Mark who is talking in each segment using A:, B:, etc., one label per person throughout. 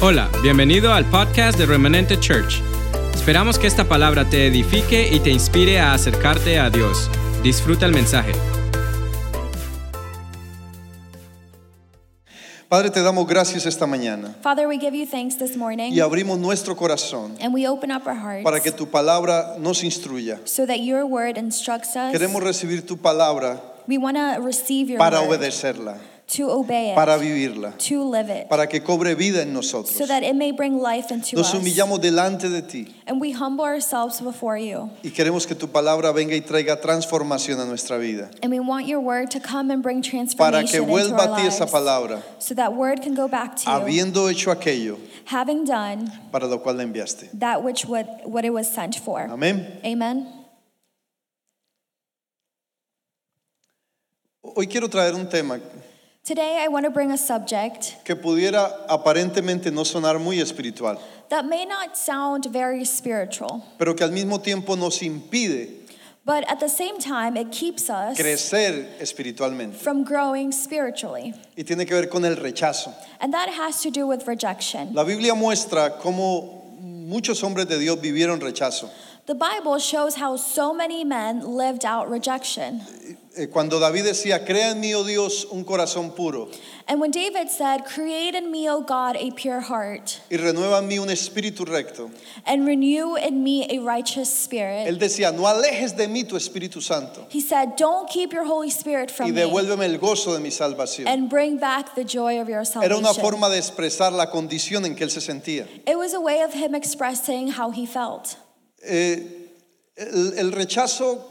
A: Hola, bienvenido al podcast de Remanente Church. Esperamos que esta palabra te edifique y te inspire a acercarte a Dios. Disfruta el mensaje.
B: Padre, te damos gracias esta mañana
C: Father, we give you thanks this morning
B: y abrimos nuestro corazón
C: and we open up our hearts
B: para que tu palabra nos instruya.
C: so that your word instructs us.
B: Queremos recibir tu palabra
C: we want to receive your
B: para
C: word
B: obedecerla,
C: to obey it,
B: para vivirla,
C: to live it,
B: para que cobre vida en nosotros.
C: so that it may bring life into
B: Nos
C: us.
B: humillamos delante de ti
C: And we humble ourselves before you.
B: y queremos que tu palabra venga y traiga transformación a nuestra vida.
C: And we want your word to come and bring
B: Para que
C: transformation into
B: vuelva
C: our
B: a ti esa
C: lives,
B: palabra,
C: so that word can go back to you,
B: habiendo hecho aquello
C: having done
B: para lo cual la enviaste.
C: that which what, what it was sent for.
B: Amén.
C: Amen.
B: Hoy quiero traer un tema
C: Today, I want to bring a subject
B: que pudiera aparentemente no sonar muy espiritual,
C: that may not sound very spiritual,
B: pero que al mismo tiempo nos impide
C: but at the same time, it keeps us
B: crecer espiritualmente
C: from growing spiritually.
B: y tiene que ver con el rechazo.
C: And that has to do with rejection.
B: La Biblia muestra cómo muchos hombres de Dios vivieron rechazo.
C: The Bible shows how so many men lived out rejection.
B: Eh, Cuando David decía, crea en mí, oh Dios, un corazón puro
C: And when David said, Create in me, O God, a pure heart,
B: y renueva en mí un espíritu recto,
C: and renew in me a righteous
B: él
C: spirit,
B: decía, no alejes de mí tu Espíritu Santo
C: he said, Don't keep your Holy Spirit
B: y
C: from me,
B: devuélveme el gozo de mi salvación.
C: and bring back the joy of your
B: Era una
C: salvation.
B: forma de expresar la condición en que él se sentía.
C: It was a way of him expressing how he felt.
B: Eh, el- el rechazo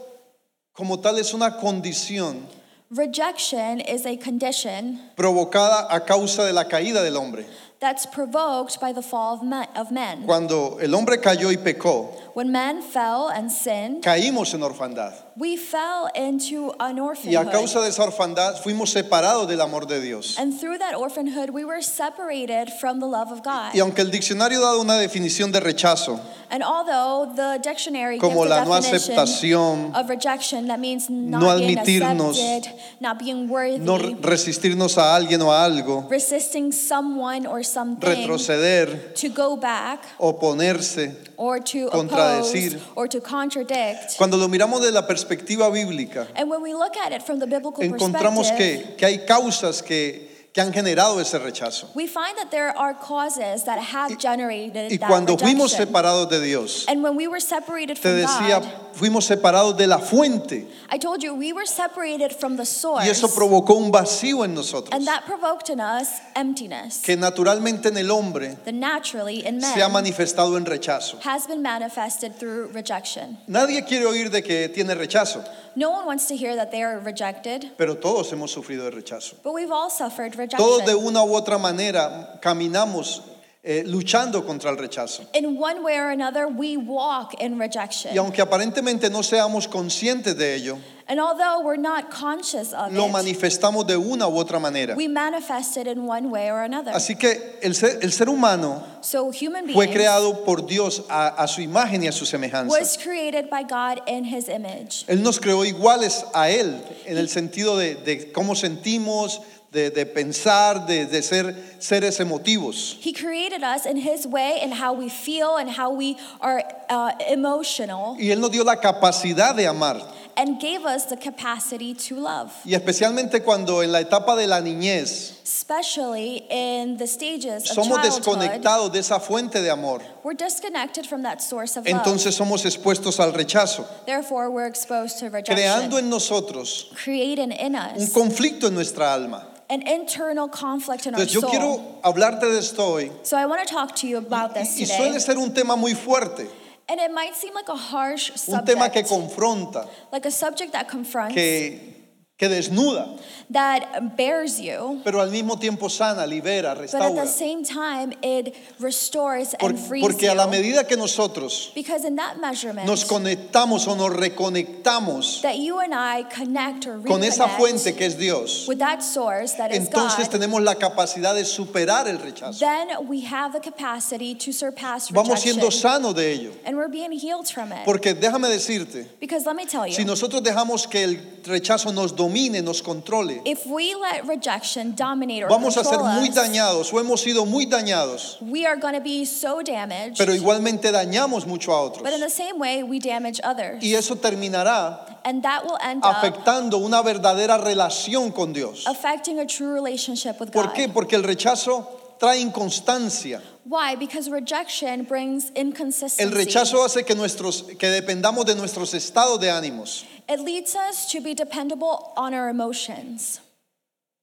B: como tal es una condición
C: Rejection is a condition
B: provocada a causa de la caída del hombre.
C: that's provoked by the fall of men. Of men.
B: Cuando el hombre cayó y pecó,
C: When men fell and sinned,
B: caímos en orfandad.
C: we fell into an
B: Y a
C: orphanhood.
B: causa de esa orfandad fuimos separados del amor de Dios.
C: And through that orphanhood, we were separated from the love of God.
B: Y aunque el diccionario da una definición de rechazo
C: And although the dictionary
B: como
C: gives
B: la
C: a
B: no
C: definition
B: aceptación,
C: of rejection, that means not
B: no
C: being
B: admitirnos,
C: accepted, not being worthy,
B: no re- resistirnos a alguien o a algo,
C: resisting someone or something,
B: retroceder,
C: to go back
B: oponerse.
C: or to
B: Contradecir.
C: oppose or to contradict.
B: Cuando lo miramos desde la perspectiva bíblica,
C: And when we look at it from the biblical
B: encontramos que,
C: perspective,
B: que hay causas que, que han generado ese rechazo.
C: we find that there are causes that have generated
B: Y
C: that
B: cuando fuimos
C: rejection.
B: separados de Dios,
C: And when we were separated
B: te
C: from God,
B: decía, fuimos separados de la fuente.
C: I told you we were separated from the source.
B: Y eso provocó un vacío en nosotros
C: and that provoked in us emptiness
B: que naturalmente en el hombre
C: that naturally in
B: se ha
C: men
B: manifestado en rechazo.
C: has been manifested through rejection.
B: Nadie quiere oír de que tiene rechazo,
C: No one wants to hear that they are rejected,
B: pero todos hemos sufrido de rechazo.
C: but we've all suffered
B: Todos de
C: rejection.
B: una u otra manera caminamos eh, luchando contra el rechazo.
C: In one way or another, we walk in rejection.
B: Y aunque aparentemente no seamos conscientes de ello,
C: and although we're not conscious of
B: lo
C: it,
B: manifestamos de una u otra manera.
C: we manifest it in one way or another.
B: Así que el ser, el ser humano
C: so human
B: fue
C: beings
B: creado por Dios a, a su imagen y a su semejanza.
C: was created by God in his image.
B: Él nos creó iguales a Él en el sentido de, de cómo sentimos, de, de pensar, de, de ser seres emotivos.
C: He created us in His way and how we feel and how we are uh, emotional
B: Y Él nos dio la capacidad de amar.
C: and gave us the capacity to love,
B: Y especialmente cuando en la etapa de la niñez
C: especially in the stages of
B: somos
C: childhood.
B: desconectados de esa fuente de amor,
C: We're disconnected from that source of love.
B: entonces somos expuestos al rechazo,
C: Therefore, we're exposed to
B: creando
C: rejection,
B: en nosotros
C: creating in
B: un
C: us
B: conflicto en nuestra alma.
C: an internal conflict in our
B: Entonces yo
C: soul.
B: quiero hablarte de esto hoy.
C: So I want to talk to you about this
B: Y suele
C: today.
B: ser un tema muy fuerte,
C: And it might seem like a harsh
B: un tema que
C: subject,
B: confronta,
C: like a subject that confronts,
B: que, que desnuda,
C: that bears you.
B: pero al mismo tiempo sana, libera,
C: But at the
B: restaura.
C: same time, it restores
B: Por-
C: and frees
B: porque a la
C: you.
B: medida que nosotros
C: because in that measurement,
B: nos conectamos o nos reconectamos
C: that you and I connect or reconnect
B: con esa fuente que es Dios,
C: with that source that is
B: entonces
C: God,
B: tenemos la capacidad de superar el rechazo.
C: then we have the capacity to surpass
B: Vamos
C: rejection.
B: siendo sanos de ello.
C: and we're being healed from it.
B: Porque déjame decirte,
C: because let me tell you,
B: si nosotros dejamos que el rechazo nos domine, nos controle,
C: If we let rejection dominate or
B: vamos a ser
C: control
B: muy
C: us,
B: dañados o hemos sido muy dañados,
C: we are going to be so damaged.
B: pero igualmente dañamos mucho a otros.
C: but in the same way, we damage others.
B: Y eso terminará
C: and that will end up
B: afectando una verdadera relación con Dios.
C: affecting a true relationship with
B: ¿Por
C: God.
B: qué? Porque el rechazo trae inconstancia.
C: Why? Because rejection brings inconsistency.
B: El rechazo hace que, nuestros, que dependamos de nuestros estados de ánimos.
C: It leads us to be dependable on our emotions.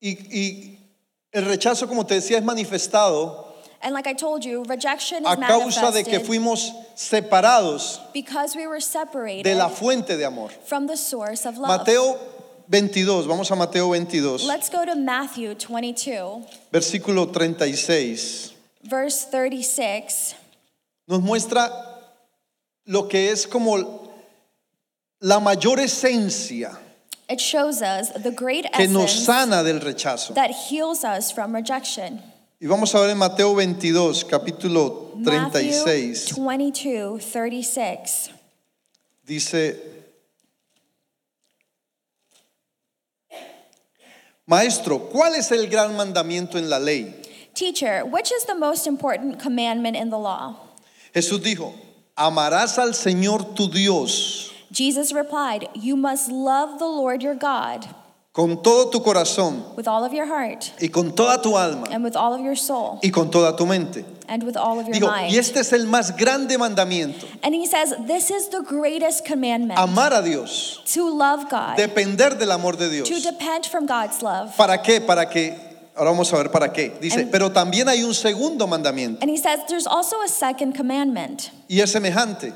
B: Y, y el rechazo, como te decía, es manifestado
C: And like I told you, rejection
B: a
C: is
B: causa de
C: manifested
B: que fuimos separados
C: because we were separated
B: de la fuente de amor.
C: from the source of love.
B: Mateo 22, vamos a Mateo 22,
C: Let's go to Matthew 22,
B: versículo 36.
C: verse 36.
B: Nos muestra lo que es como la mayor esencia
C: It shows us the great
B: que nos
C: essence
B: sana del rechazo.
C: that heals us from rejection.
B: Y vamos a ver en Mateo 22, capítulo
C: Matthew
B: 36,
C: 22, 36.
B: dice, Maestro, ¿cuál es el gran mandamiento en la ley?
C: Teacher, which is the most important commandment in the law?
B: Jesús dijo, amarás al Señor tu Dios
C: Jesus replied, You must love the Lord your God
B: con todo tu corazón
C: with all of your heart
B: y con toda tu alma
C: and with all of your soul
B: y con toda tu mente.
C: and with all of your
B: Digo,
C: mind.
B: y este es el más grande mandamiento,
C: And he says, This is the greatest commandment
B: amar a Dios,
C: to love God,
B: depender del amor de Dios.
C: to depend from God's love.
B: ¿Para qué? ¿Para qué? Ahora vamos a ver para qué. Dice,
C: Em-
B: pero también hay un segundo mandamiento
C: And he says, There's also a second commandment,
B: y es semejante.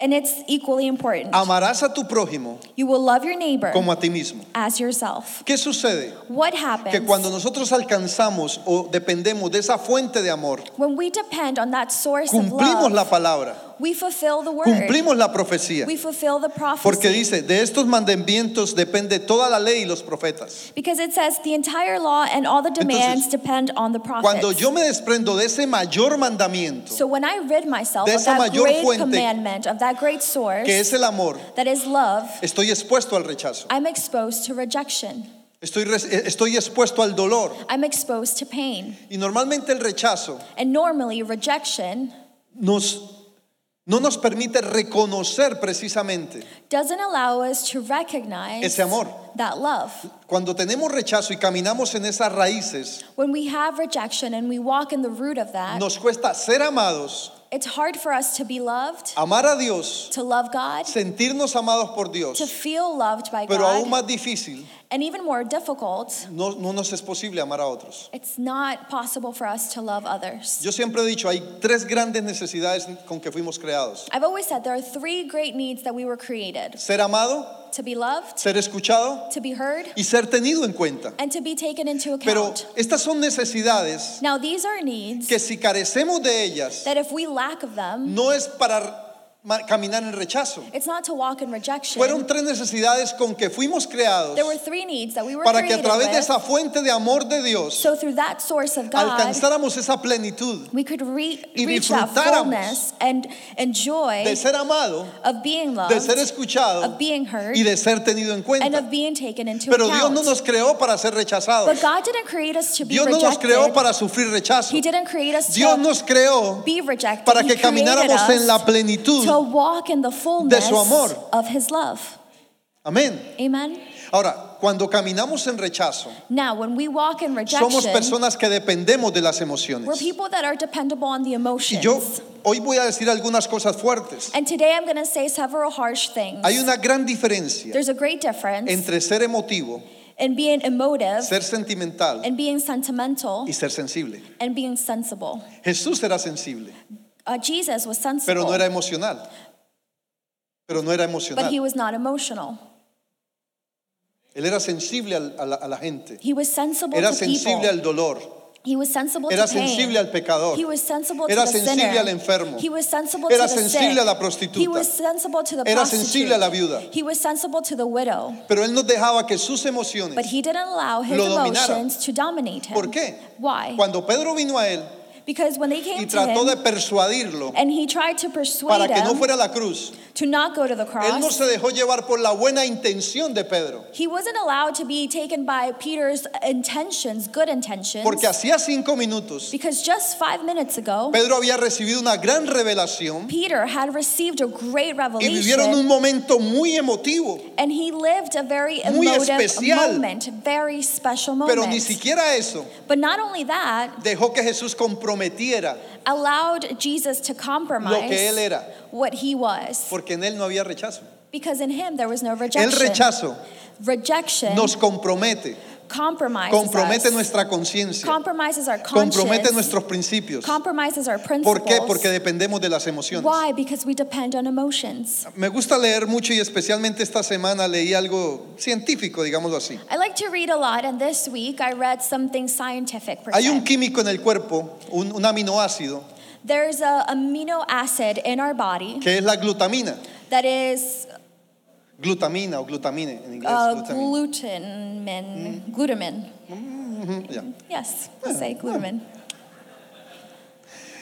C: and it's equally important.
B: Amarás a tu prójimo
C: You will love your neighbor
B: como a ti mismo.
C: as yourself.
B: ¿Qué sucede?
C: What
B: Que
C: happens
B: cuando nosotros alcanzamos o dependemos de esa fuente de amor,
C: when we depend on that source of
B: cumplimos
C: love?
B: la palabra,
C: We fulfill the word.
B: cumplimos la profecía.
C: We fulfill the
B: Porque
C: prophecy.
B: dice, de estos mandamientos depende toda la ley y los profetas.
C: Because it says the entire law and all the demands depend on the prophets.
B: Cuando yo me desprendo de ese mayor mandamiento,
C: so when I rid myself
B: de
C: of
B: esa
C: that
B: mayor
C: great
B: fuente,
C: commandment, of that great source
B: que es el amor,
C: that is love,
B: estoy expuesto al rechazo,
C: I'm exposed to rejection.
B: estoy, res- eh, estoy expuesto al dolor.
C: I'm exposed to pain.
B: Y normalmente el rechazo
C: And normally rejection
B: nos, no nos permite reconocer precisamente.
C: doesn't allow us to recognize
B: Ese amor.
C: that love.
B: Cuando tenemos rechazo y caminamos en esas raíces,
C: When we have rejection and we walk in the root of that,
B: nos cuesta ser amados,
C: it's hard for us to be loved,
B: amar a Dios,
C: to love God,
B: sentirnos amados por
C: to
B: Dios.
C: feel loved by
B: Pero
C: God.
B: aún más difícil,
C: And even more difficult,
B: no, no nos es posible amar a otros.
C: it's not possible for us to love others.
B: Yo siempre he dicho, hay tres grandes necesidades con que fuimos creados.
C: I've always said there are three great needs that we were created
B: Ser amado,
C: to be loved,
B: ser escuchado
C: to be heard,
B: y ser tenido en cuenta.
C: and to be taken into
B: Pero
C: account.
B: estas son necesidades
C: Now, these are needs
B: que si carecemos de ellas,
C: that if we lack of them,
B: no es para ma- caminar en rechazo.
C: it's not to walk in
B: Fueron
C: rejection.
B: tres necesidades con que fuimos creados
C: There were three needs that we were
B: para que
C: created
B: a través de
C: with.
B: esa fuente de amor de Dios
C: So, through that source of God,
B: alcanzáramos esa plenitud
C: we could re-
B: y
C: reach that
B: disfrutáramos
C: fullness and enjoy
B: de ser amado,
C: of being
B: de ser
C: loved,
B: escuchado
C: of being heard,
B: y de ser tenido en
C: and of
B: cuenta.
C: being taken into
B: Pero Dios
C: account.
B: no nos creó para ser rechazados.
C: But God didn't create us to be
B: Dios no nos
C: rejected.
B: creó para sufrir rechazo.
C: He didn't create us
B: Dios
C: to
B: nos creó
C: be rejected.
B: para
C: He
B: que
C: created
B: camináramos en la
C: us to
B: plenitud.
C: walk in the fullness
B: amor.
C: of His love.
B: Amén.
C: Amen.
B: Ahora, cuando caminamos en rechazo,
C: Now, when we walk in rejection,
B: somos personas que dependemos de las
C: we're
B: emociones.
C: people that are dependable on the
B: Y
C: emotions.
B: yo hoy voy a decir algunas cosas fuertes.
C: and today I'm going to say several harsh things.
B: Hay una gran diferencia
C: There's a great difference
B: entre ser emotivo,
C: in being emotive
B: ser sentimental
C: and being sentimental
B: y ser sensible.
C: and being sensible.
B: Jesús era sensible,
C: Uh, Jesus was sensible,
B: pero no era emocional. Pero no era
C: but he
B: emocional.
C: was not emotional.
B: Él era sensible al- a la, a la gente.
C: He was sensible
B: Era
C: to
B: sensible
C: people.
B: al dolor.
C: He was sensible
B: Era
C: to pain.
B: sensible al pecador.
C: He was sensible
B: Era
C: to the
B: sensible
C: sinner.
B: al enfermo.
C: He was sensible
B: Era
C: to the
B: sensible
C: sick.
B: a la prostituta.
C: He was sensible to the
B: Era
C: prostitute.
B: sensible a la viuda.
C: He was sensible to the widow.
B: Pero Él nos dejaba que sus emociones.
C: But he didn't allow his
B: Lo dominara.
C: emotions to dominate him.
B: ¿Por qué?
C: Why?
B: Cuando Pedro vino a Él,
C: Because when they came
B: y
C: to
B: trató de
C: him
B: persuadirlo
C: and he tried to persuade
B: para que no
C: them
B: fuera a la cruz.
C: to not go to the
B: Él no
C: cross,
B: se dejó llevar por la buena intención de Pedro,
C: he wasn't allowed to be taken by Peter's intentions, good intentions.
B: porque hacía cinco minutos
C: Because just five minutes ago,
B: Pedro había recibido una gran revelación
C: Peter had received a great
B: y vivieron un
C: revelation,
B: momento muy emotivo,
C: and he lived a very
B: muy
C: emotive
B: especial.
C: moment, very special
B: pero ni
C: moment.
B: siquiera eso
C: But not only that,
B: dejó que Jesús comprometiera
C: allowed Jesus to
B: lo que él
C: compromise
B: era,
C: what he was,
B: porque en él no había rechazo.
C: because in him there was no
B: El
C: rejection.
B: rechazo
C: Rejection
B: nos compromete,
C: compromises
B: compromete
C: us.
B: nuestra conciencia,
C: compromises our
B: compromete
C: conscience,
B: nuestros principios.
C: compromises our
B: ¿Por qué?
C: principles.
B: Porque dependemos de las emociones.
C: Why? Because we depend on emotions.
B: Me gusta leer mucho y especialmente esta semana leí algo científico, digámoslo así.
C: I like to read a lot, and this week I read something scientific. Per
B: Hay un
C: se.
B: químico en el cuerpo, un, un aminoácido,
C: There's a amino acid in our body
B: que es la glutamina.
C: that is
B: Glutamina o glutamine en inglés.
C: uh,
B: glutamina.
C: glutamin,
B: Mm.
C: glutamin.
B: Ujú, ya.
C: Yes, we'll say glutamin.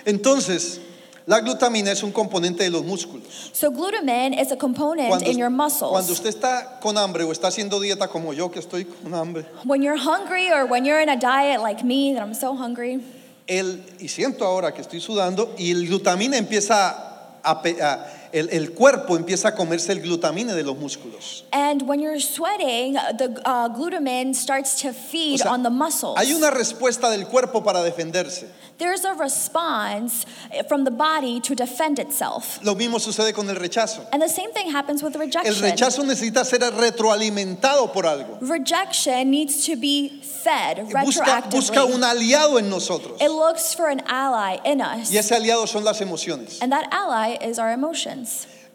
B: Entonces, la glutamina es un componente de los músculos.
C: So glutamin is a component in
B: cuando
C: your muscles.
B: usted está con hambre o está haciendo dieta como yo que estoy con hambre,
C: When you're hungry or when you're in a diet like me, that I'm so hungry,
B: el, y siento ahora que estoy sudando y el glutamina empieza a... pe- a- el, el cuerpo empieza a comerse el glutamine de los músculos.
C: and when you're sweating, the uh, glutamin starts to feed
B: O sea,
C: on the muscles.
B: Hay una respuesta del cuerpo para defenderse.
C: There's a response from the body to defend itself.
B: Lo mismo sucede con el rechazo.
C: And the same thing happens with rejection.
B: El rechazo necesita ser retroalimentado por algo.
C: Rejection needs to be fed
B: Busca,
C: retroactively.
B: busca un aliado en nosotros.
C: It looks for an ally in us,
B: Y ese aliado son las emociones.
C: and that ally is our emotions.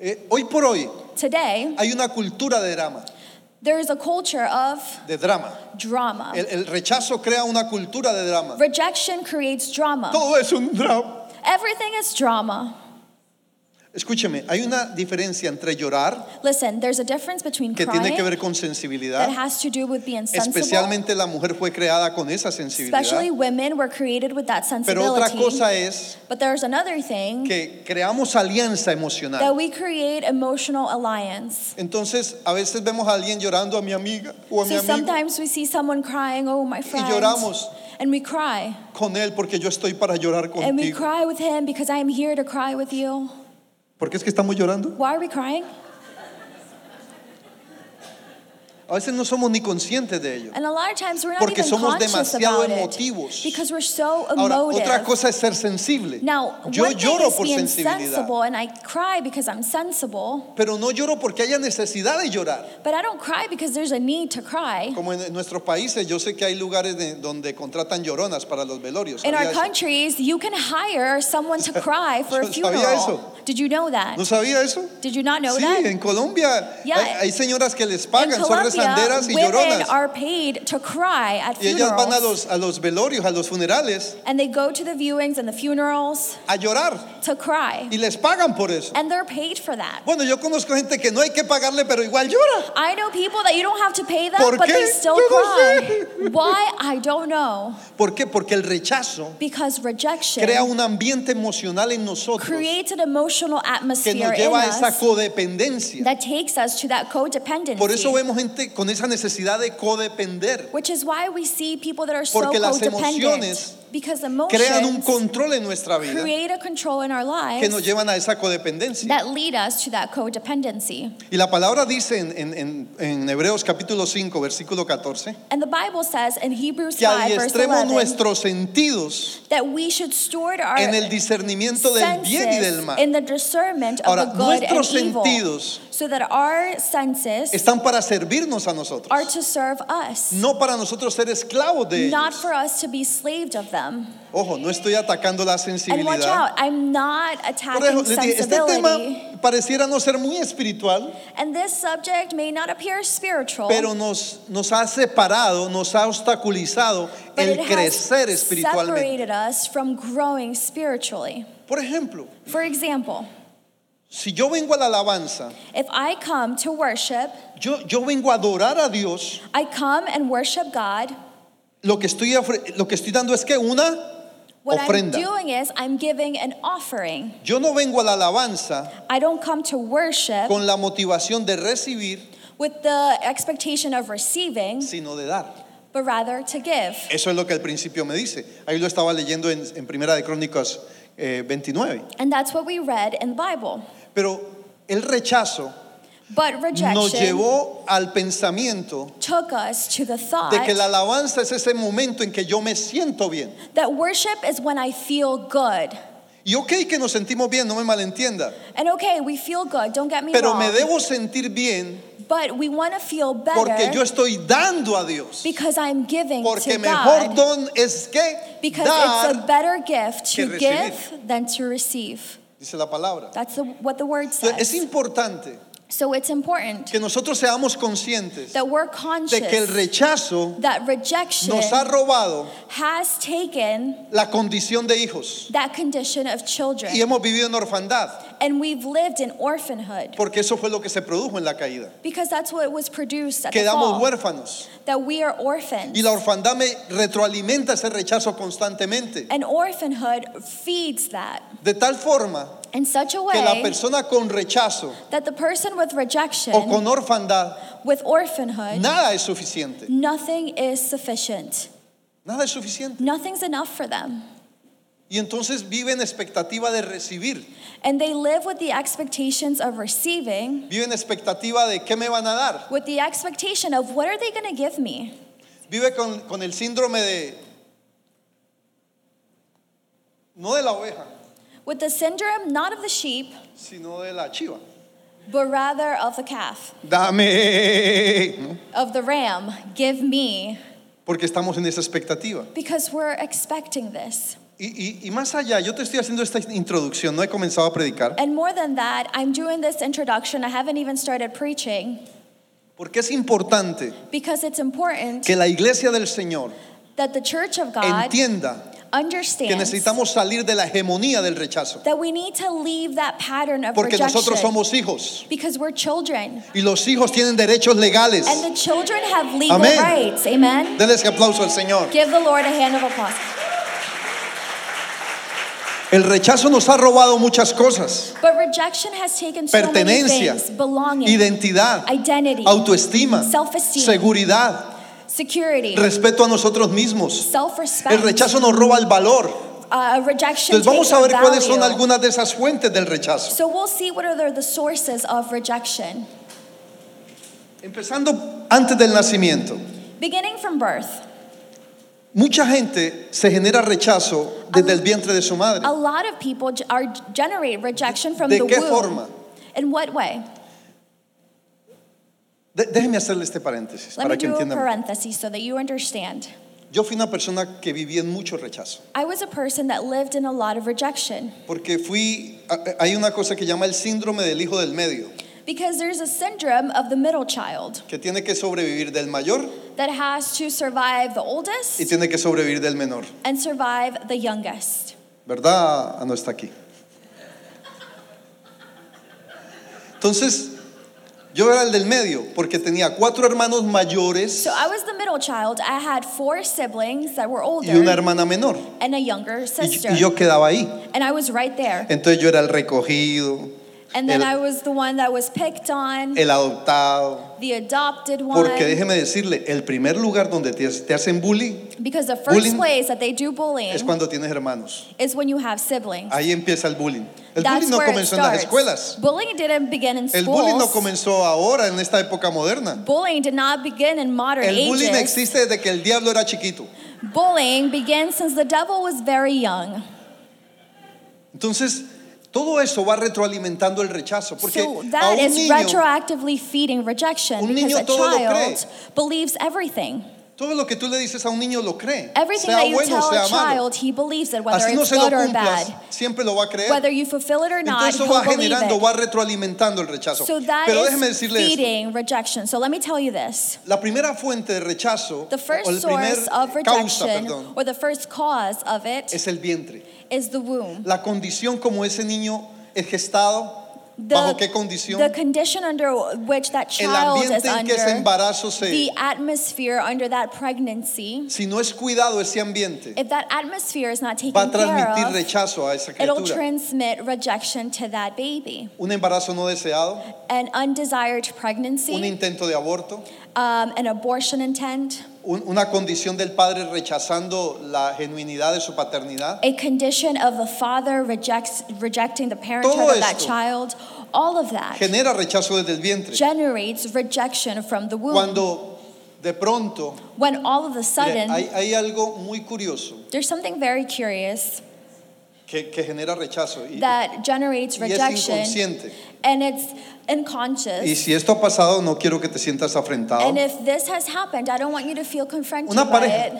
B: Eh, hoy por hoy
C: Today,
B: hay una cultura de drama.
C: there is a culture of
B: De drama.
C: drama.
B: El, el rechazo crea una cultura de drama.
C: Rejection creates drama.
B: Todo es un drama.
C: Everything is drama.
B: Escúcheme, hay una diferencia entre llorar,
C: Listen, there's a difference between
B: que tiene que
C: crying
B: ver con
C: that
B: sensibilidad.
C: has to do with being sensible.
B: Especialmente la mujer fue creada con esa
C: Especially
B: sensibilidad.
C: women were created with that
B: Pero otra
C: sensibility.
B: cosa es
C: But there's another thing
B: que creamos alianza emocional.
C: that we create emotional alliance.
B: Entonces, a veces vemos a alguien llorando a mi amiga o a mi
C: So
B: amigo
C: sometimes we see someone crying, oh my friend,
B: lloramos.
C: and we cry.
B: con él porque yo estoy para llorar
C: And we
B: contigo.
C: cry with him because I am here to cry with you.
B: ¿Por qué es que estamos llorando?
C: Why are we crying?
B: A veces no somos ni conscientes de ello.
C: And a lot of times we're not
B: Porque
C: even
B: somos
C: conscious
B: demasiado
C: about
B: emotivos.
C: it because we're so
B: Ahora,
C: emotive.
B: otra cosa es ser sensible.
C: Now,
B: Yo
C: one thing
B: lloro
C: is
B: por
C: being
B: sensibilidad,
C: sensible, and I cry because I'm sensible,
B: pero no lloro porque haya necesidad de llorar.
C: but I don't cry because there's a need to cry.
B: Como en, en nuestros países, yo sé que hay lugares de- donde contratan lloronas para los velorios.
C: In
B: ¿Sabía
C: our
B: eso?
C: countries, you can hire someone to cry for a
B: Sabía
C: funeral.
B: eso?
C: Did you know that?
B: ¿No sabía eso?
C: Did you not know
B: sí,
C: that?
B: en Colombia
C: Yeah.
B: hay, hay señoras que les
C: In
B: pagan, son
C: Colombia,
B: rezanderas y
C: women
B: lloronas.
C: are paid to cry at
B: Y ellas van a
C: funerals,
B: los, a los velorios, a los funerales,
C: and they go to the viewings and the funerals
B: a llorar.
C: to cry,
B: Y les pagan por eso.
C: and they're paid for that.
B: Bueno, yo conozco gente que no hay que pagarle, pero igual llora.
C: I know people that you don't have to pay them,
B: ¿Por
C: but they
B: qué?
C: still
B: Yo no
C: cry.
B: sé.
C: Why? I don't know.
B: ¿Por qué? Porque el rechazo
C: Because rejection
B: crea un ambiente emocional en nosotros
C: creates an emotional
B: que
C: atmosphere
B: nos
C: in
B: lleva a esa
C: us
B: codependencia.
C: that takes us to that codependency.
B: Por eso vemos gente con esa necesidad de codepender.
C: which is why we see people that are so
B: Porque las
C: codependent.
B: emociones
C: Because
B: Crean un
C: emotions
B: control en nuestra vida
C: create a control in our
B: que nos
C: lives
B: llevan a esa codependencia.
C: that lead us to that codependency.
B: Y la palabra dice en, en- en- en Hebreos capítulo 5, versículo 14,
C: And the Bible says in Hebrews
B: que
C: 5, verse
B: adiestremos
C: 11,
B: nuestros sentidos
C: that we should store our
B: en el discernimiento del bien y del
C: senses
B: mal.
C: in the discernment of
B: Ahora,
C: the good and
B: nuestros
C: evil,
B: sentidos
C: so that our senses
B: están para servirnos a nosotros,
C: are to serve us,
B: no para nosotros ser esclavos de
C: not
B: ellos.
C: for us to be slaved of them.
B: Ojo, no estoy atacando la
C: And watch
B: sensibilidad.
C: out, I'm not
B: Por eso
C: attacking
B: les dije, este tema
C: sensibility.
B: pareciera no ser muy espiritual,
C: And this subject may not appear spiritual,
B: pero nos, nos ha separado, nos ha obstaculizado
C: but
B: el
C: it has
B: crecer espiritualmente.
C: separated us from growing spiritually.
B: Por ejemplo,
C: For example,
B: si yo vengo a la alabanza,
C: if I come to worship,
B: yo, yo vengo a adorar a Dios,
C: I come and worship God.
B: lo que, estoy ofre- lo que estoy dando es que una
C: What I'm
B: ofrenda.
C: doing is I'm giving an offering.
B: Yo no vengo a la alabanza
C: I don't come to worship
B: con la motivación de recibir,
C: with the expectation of receiving,
B: sino de dar.
C: but rather to give.
B: Eso es lo que al principio me dice. Ahí lo estaba leyendo en, en Primera de Crónicas eh, 29.
C: And that's what we read in the Bible.
B: Pero el rechazo
C: But
B: nos
C: rejection
B: llevó al pensamiento
C: took us to the thought
B: de que la alabanza es ese momento en que yo me siento bien.
C: that worship is when I feel good.
B: Y ok que nos sentimos bien, no me malentienda,
C: And okay, we feel good, don't get me
B: pero
C: wrong.
B: me debo sentir bien
C: but we want to feel
B: porque
C: better
B: yo estoy dando a Dios.
C: because I'm giving
B: Porque
C: to
B: mejor
C: God.
B: don es que
C: Because it's a
B: dar,
C: better gift
B: que
C: to
B: recibir.
C: give than to receive.
B: dice la palabra.
C: That's the, what the word
B: Entonces, es
C: says.
B: importante
C: So it's important
B: que nosotros seamos conscientes
C: that we're
B: de que el
C: conscious
B: rechazo
C: that rejection
B: nos ha robado
C: has taken
B: la condición de hijos
C: that condition of
B: y
C: children.
B: hemos vivido en orfandad,
C: And we've lived in orphanhood
B: porque eso fue lo que se produjo en la caída.
C: because that's what was produced at the
B: Quedamos
C: fall,
B: huérfanos
C: that we are orphans.
B: y la orfandad me retroalimenta ese rechazo constantemente,
C: And orphanhood feeds that
B: de tal forma
C: in such a
B: que la
C: way
B: persona con rechazo
C: that the person with rejection,
B: o con orfandad,
C: with orphanhood,
B: nada es suficiente,
C: nothing is sufficient.
B: nada es suficiente.
C: Nothing's enough for them.
B: Y entonces vive en expectativa de recibir.
C: And they live with the expectations of receiving,
B: Vive en expectativa de qué me van a dar.
C: with the expectation of what are they going to give me?
B: Vive con, con el síndrome de... No de la oveja,
C: With the syndrome not of the sheep,
B: sino de la chiva.
C: but rather of the calf,
B: Dame. ¿no?
C: of the ram. Give me,
B: Porque estamos en esa expectativa.
C: because we're expecting this.
B: Y, y- y más allá, yo te estoy haciendo esta introducción, no he comenzado a predicar,
C: And more than that, I'm doing this introduction. I haven't even started preaching
B: porque es importante
C: because it's important
B: que la iglesia del Señor
C: that the church of God
B: entienda que
C: understands
B: necesitamos salir de la hegemonía del rechazo,
C: that we need to leave that pattern of
B: porque
C: rejection
B: nosotros somos hijos
C: because we're children
B: y los hijos tienen derechos legales.
C: and the children have legal
B: Amén.
C: rights. Amen.
B: Denles que aplauso al Señor.
C: Give the Lord a hand of applause.
B: El rechazo nos ha robado muchas cosas.
C: But rejection has taken so many
B: Pertenencia.
C: things: belonging,
B: Identidad,
C: identity,
B: autoestima,
C: Self-esteem.
B: seguridad,
C: security,
B: respeto a nosotros mismos.
C: self-respect.
B: El rechazo nos roba el valor.
C: uh, rejection.
B: Entonces vamos
C: takes
B: a
C: our
B: ver cuáles son
C: value.
B: algunas de esas fuentes del rechazo.
C: So we'll see what are the sources of rejection,
B: Empezando antes del nacimiento.
C: beginning from birth.
B: Mucha gente se genera rechazo desde el vientre de su madre.
C: A lot of people ge- are generate rejection from
B: ¿De
C: the
B: qué
C: womb.
B: forma?
C: In what way?
B: De- déjeme hacerle este paréntesis
C: Let me
B: para que
C: do a
B: entiendan.
C: parenthesis so that you understand.
B: Yo fui una persona que viví en mucho rechazo.
C: I was a person that lived in a lot of rejection
B: Porque fui, a- hay una cosa que llama el síndrome del hijo del medio,
C: because there's a syndrome of the middle child
B: que tiene que sobrevivir del mayor
C: that has to survive the
B: y
C: oldest
B: tiene que sobrevivir del menor.
C: and survive the youngest.
B: ¿Verdad? Ah, No está aquí. Entonces, yo era el del medio, porque tenía cuatro hermanos mayores
C: So I was the middle child. I had four siblings that were
B: y una
C: older
B: hermana menor.
C: and a
B: Y
C: younger
B: yo-
C: sister.
B: y yo quedaba ahí.
C: And I was right there.
B: Entonces yo era el recogido,
C: And then
B: el-
C: I was the one that was picked on,
B: el adoptado.
C: the adopted one.
B: Porque déjeme decirle, el primer lugar donde te, te hacen bullying
C: Because the first
B: bullying-
C: place that they do
B: es
C: bullying
B: cuando tienes hermanos.
C: is when you have siblings.
B: Ahí empieza el bullying. El
C: That's
B: bullying no
C: where it
B: comenzó en las
C: starts.
B: escuelas.
C: Bullying didn't begin in
B: El
C: schools.
B: bullying no comenzó ahora, en esta época moderna.
C: Bullying did not begin in modern
B: El bullying
C: ages.
B: existe desde que el diablo era chiquito.
C: Bullying began since the devil was very young.
B: Entonces, todo eso va retroalimentando el rechazo. Porque
C: so
B: a un
C: that is
B: niño,
C: retroactively feeding rejection
B: Un
C: because
B: niño
C: a
B: todo lo
C: child
B: cree.
C: believes everything.
B: todo lo que tú le dices a un niño lo cree.
C: Everything
B: sea
C: that you
B: bueno,
C: tell
B: sea
C: a
B: malo.
C: child, he believes it, whether
B: Así no
C: it's
B: se lo
C: good or
B: cumplas,
C: bad.
B: siempre lo va a creer.
C: Whether you fulfill it or not,
B: Entonces eso
C: he'll
B: va
C: believe
B: generando,
C: it.
B: va retroalimentando el rechazo.
C: So that
B: Pero déjeme
C: is
B: decirle esto.
C: feeding rejection. So let me tell you this.
B: La primera fuente de rechazo,
C: The
B: o el
C: first
B: primer
C: source of
B: causa,
C: rejection,
B: perdón,
C: or the first cause of it,
B: es el vientre.
C: is the womb.
B: La condición como ese niño es gestado ¿Bajo qué condición?
C: the condition under which
B: El
C: that child is
B: ambiente en que ese
C: under,
B: embarazo se...
C: the atmosphere under that pregnancy,
B: Si no es cuidado ese ambiente,
C: if that atmosphere is not
B: va a
C: taken care
B: transmitir
C: of,
B: rechazo a esa
C: it'll
B: criatura.
C: transmit rejection to that baby.
B: Un embarazo no deseado,
C: An undesired pregnancy,
B: un intento de aborto,
C: um, an abortion intent,
B: un- una condición del padre rechazando la genuinidad de su paternidad.
C: a condition of the father rejects, rejecting the parenthood
B: Todo
C: of that
B: esto
C: child, all of that
B: Genera rechazo desde el vientre.
C: generates rejection from the womb.
B: Cuando de pronto,
C: when all of a
B: mire,
C: sudden,
B: hay, hay algo muy curioso
C: there's something very curious
B: que, que genera rechazo y,
C: that generates
B: y es
C: rejection
B: inconsciente.
C: and it's
B: Y
C: unconscious.
B: si esto ha pasado, no quiero que te sientas afrentado.
C: And if this has happened, I don't want you to feel confronted
B: Una
C: by
B: pareja. Ah,
C: it.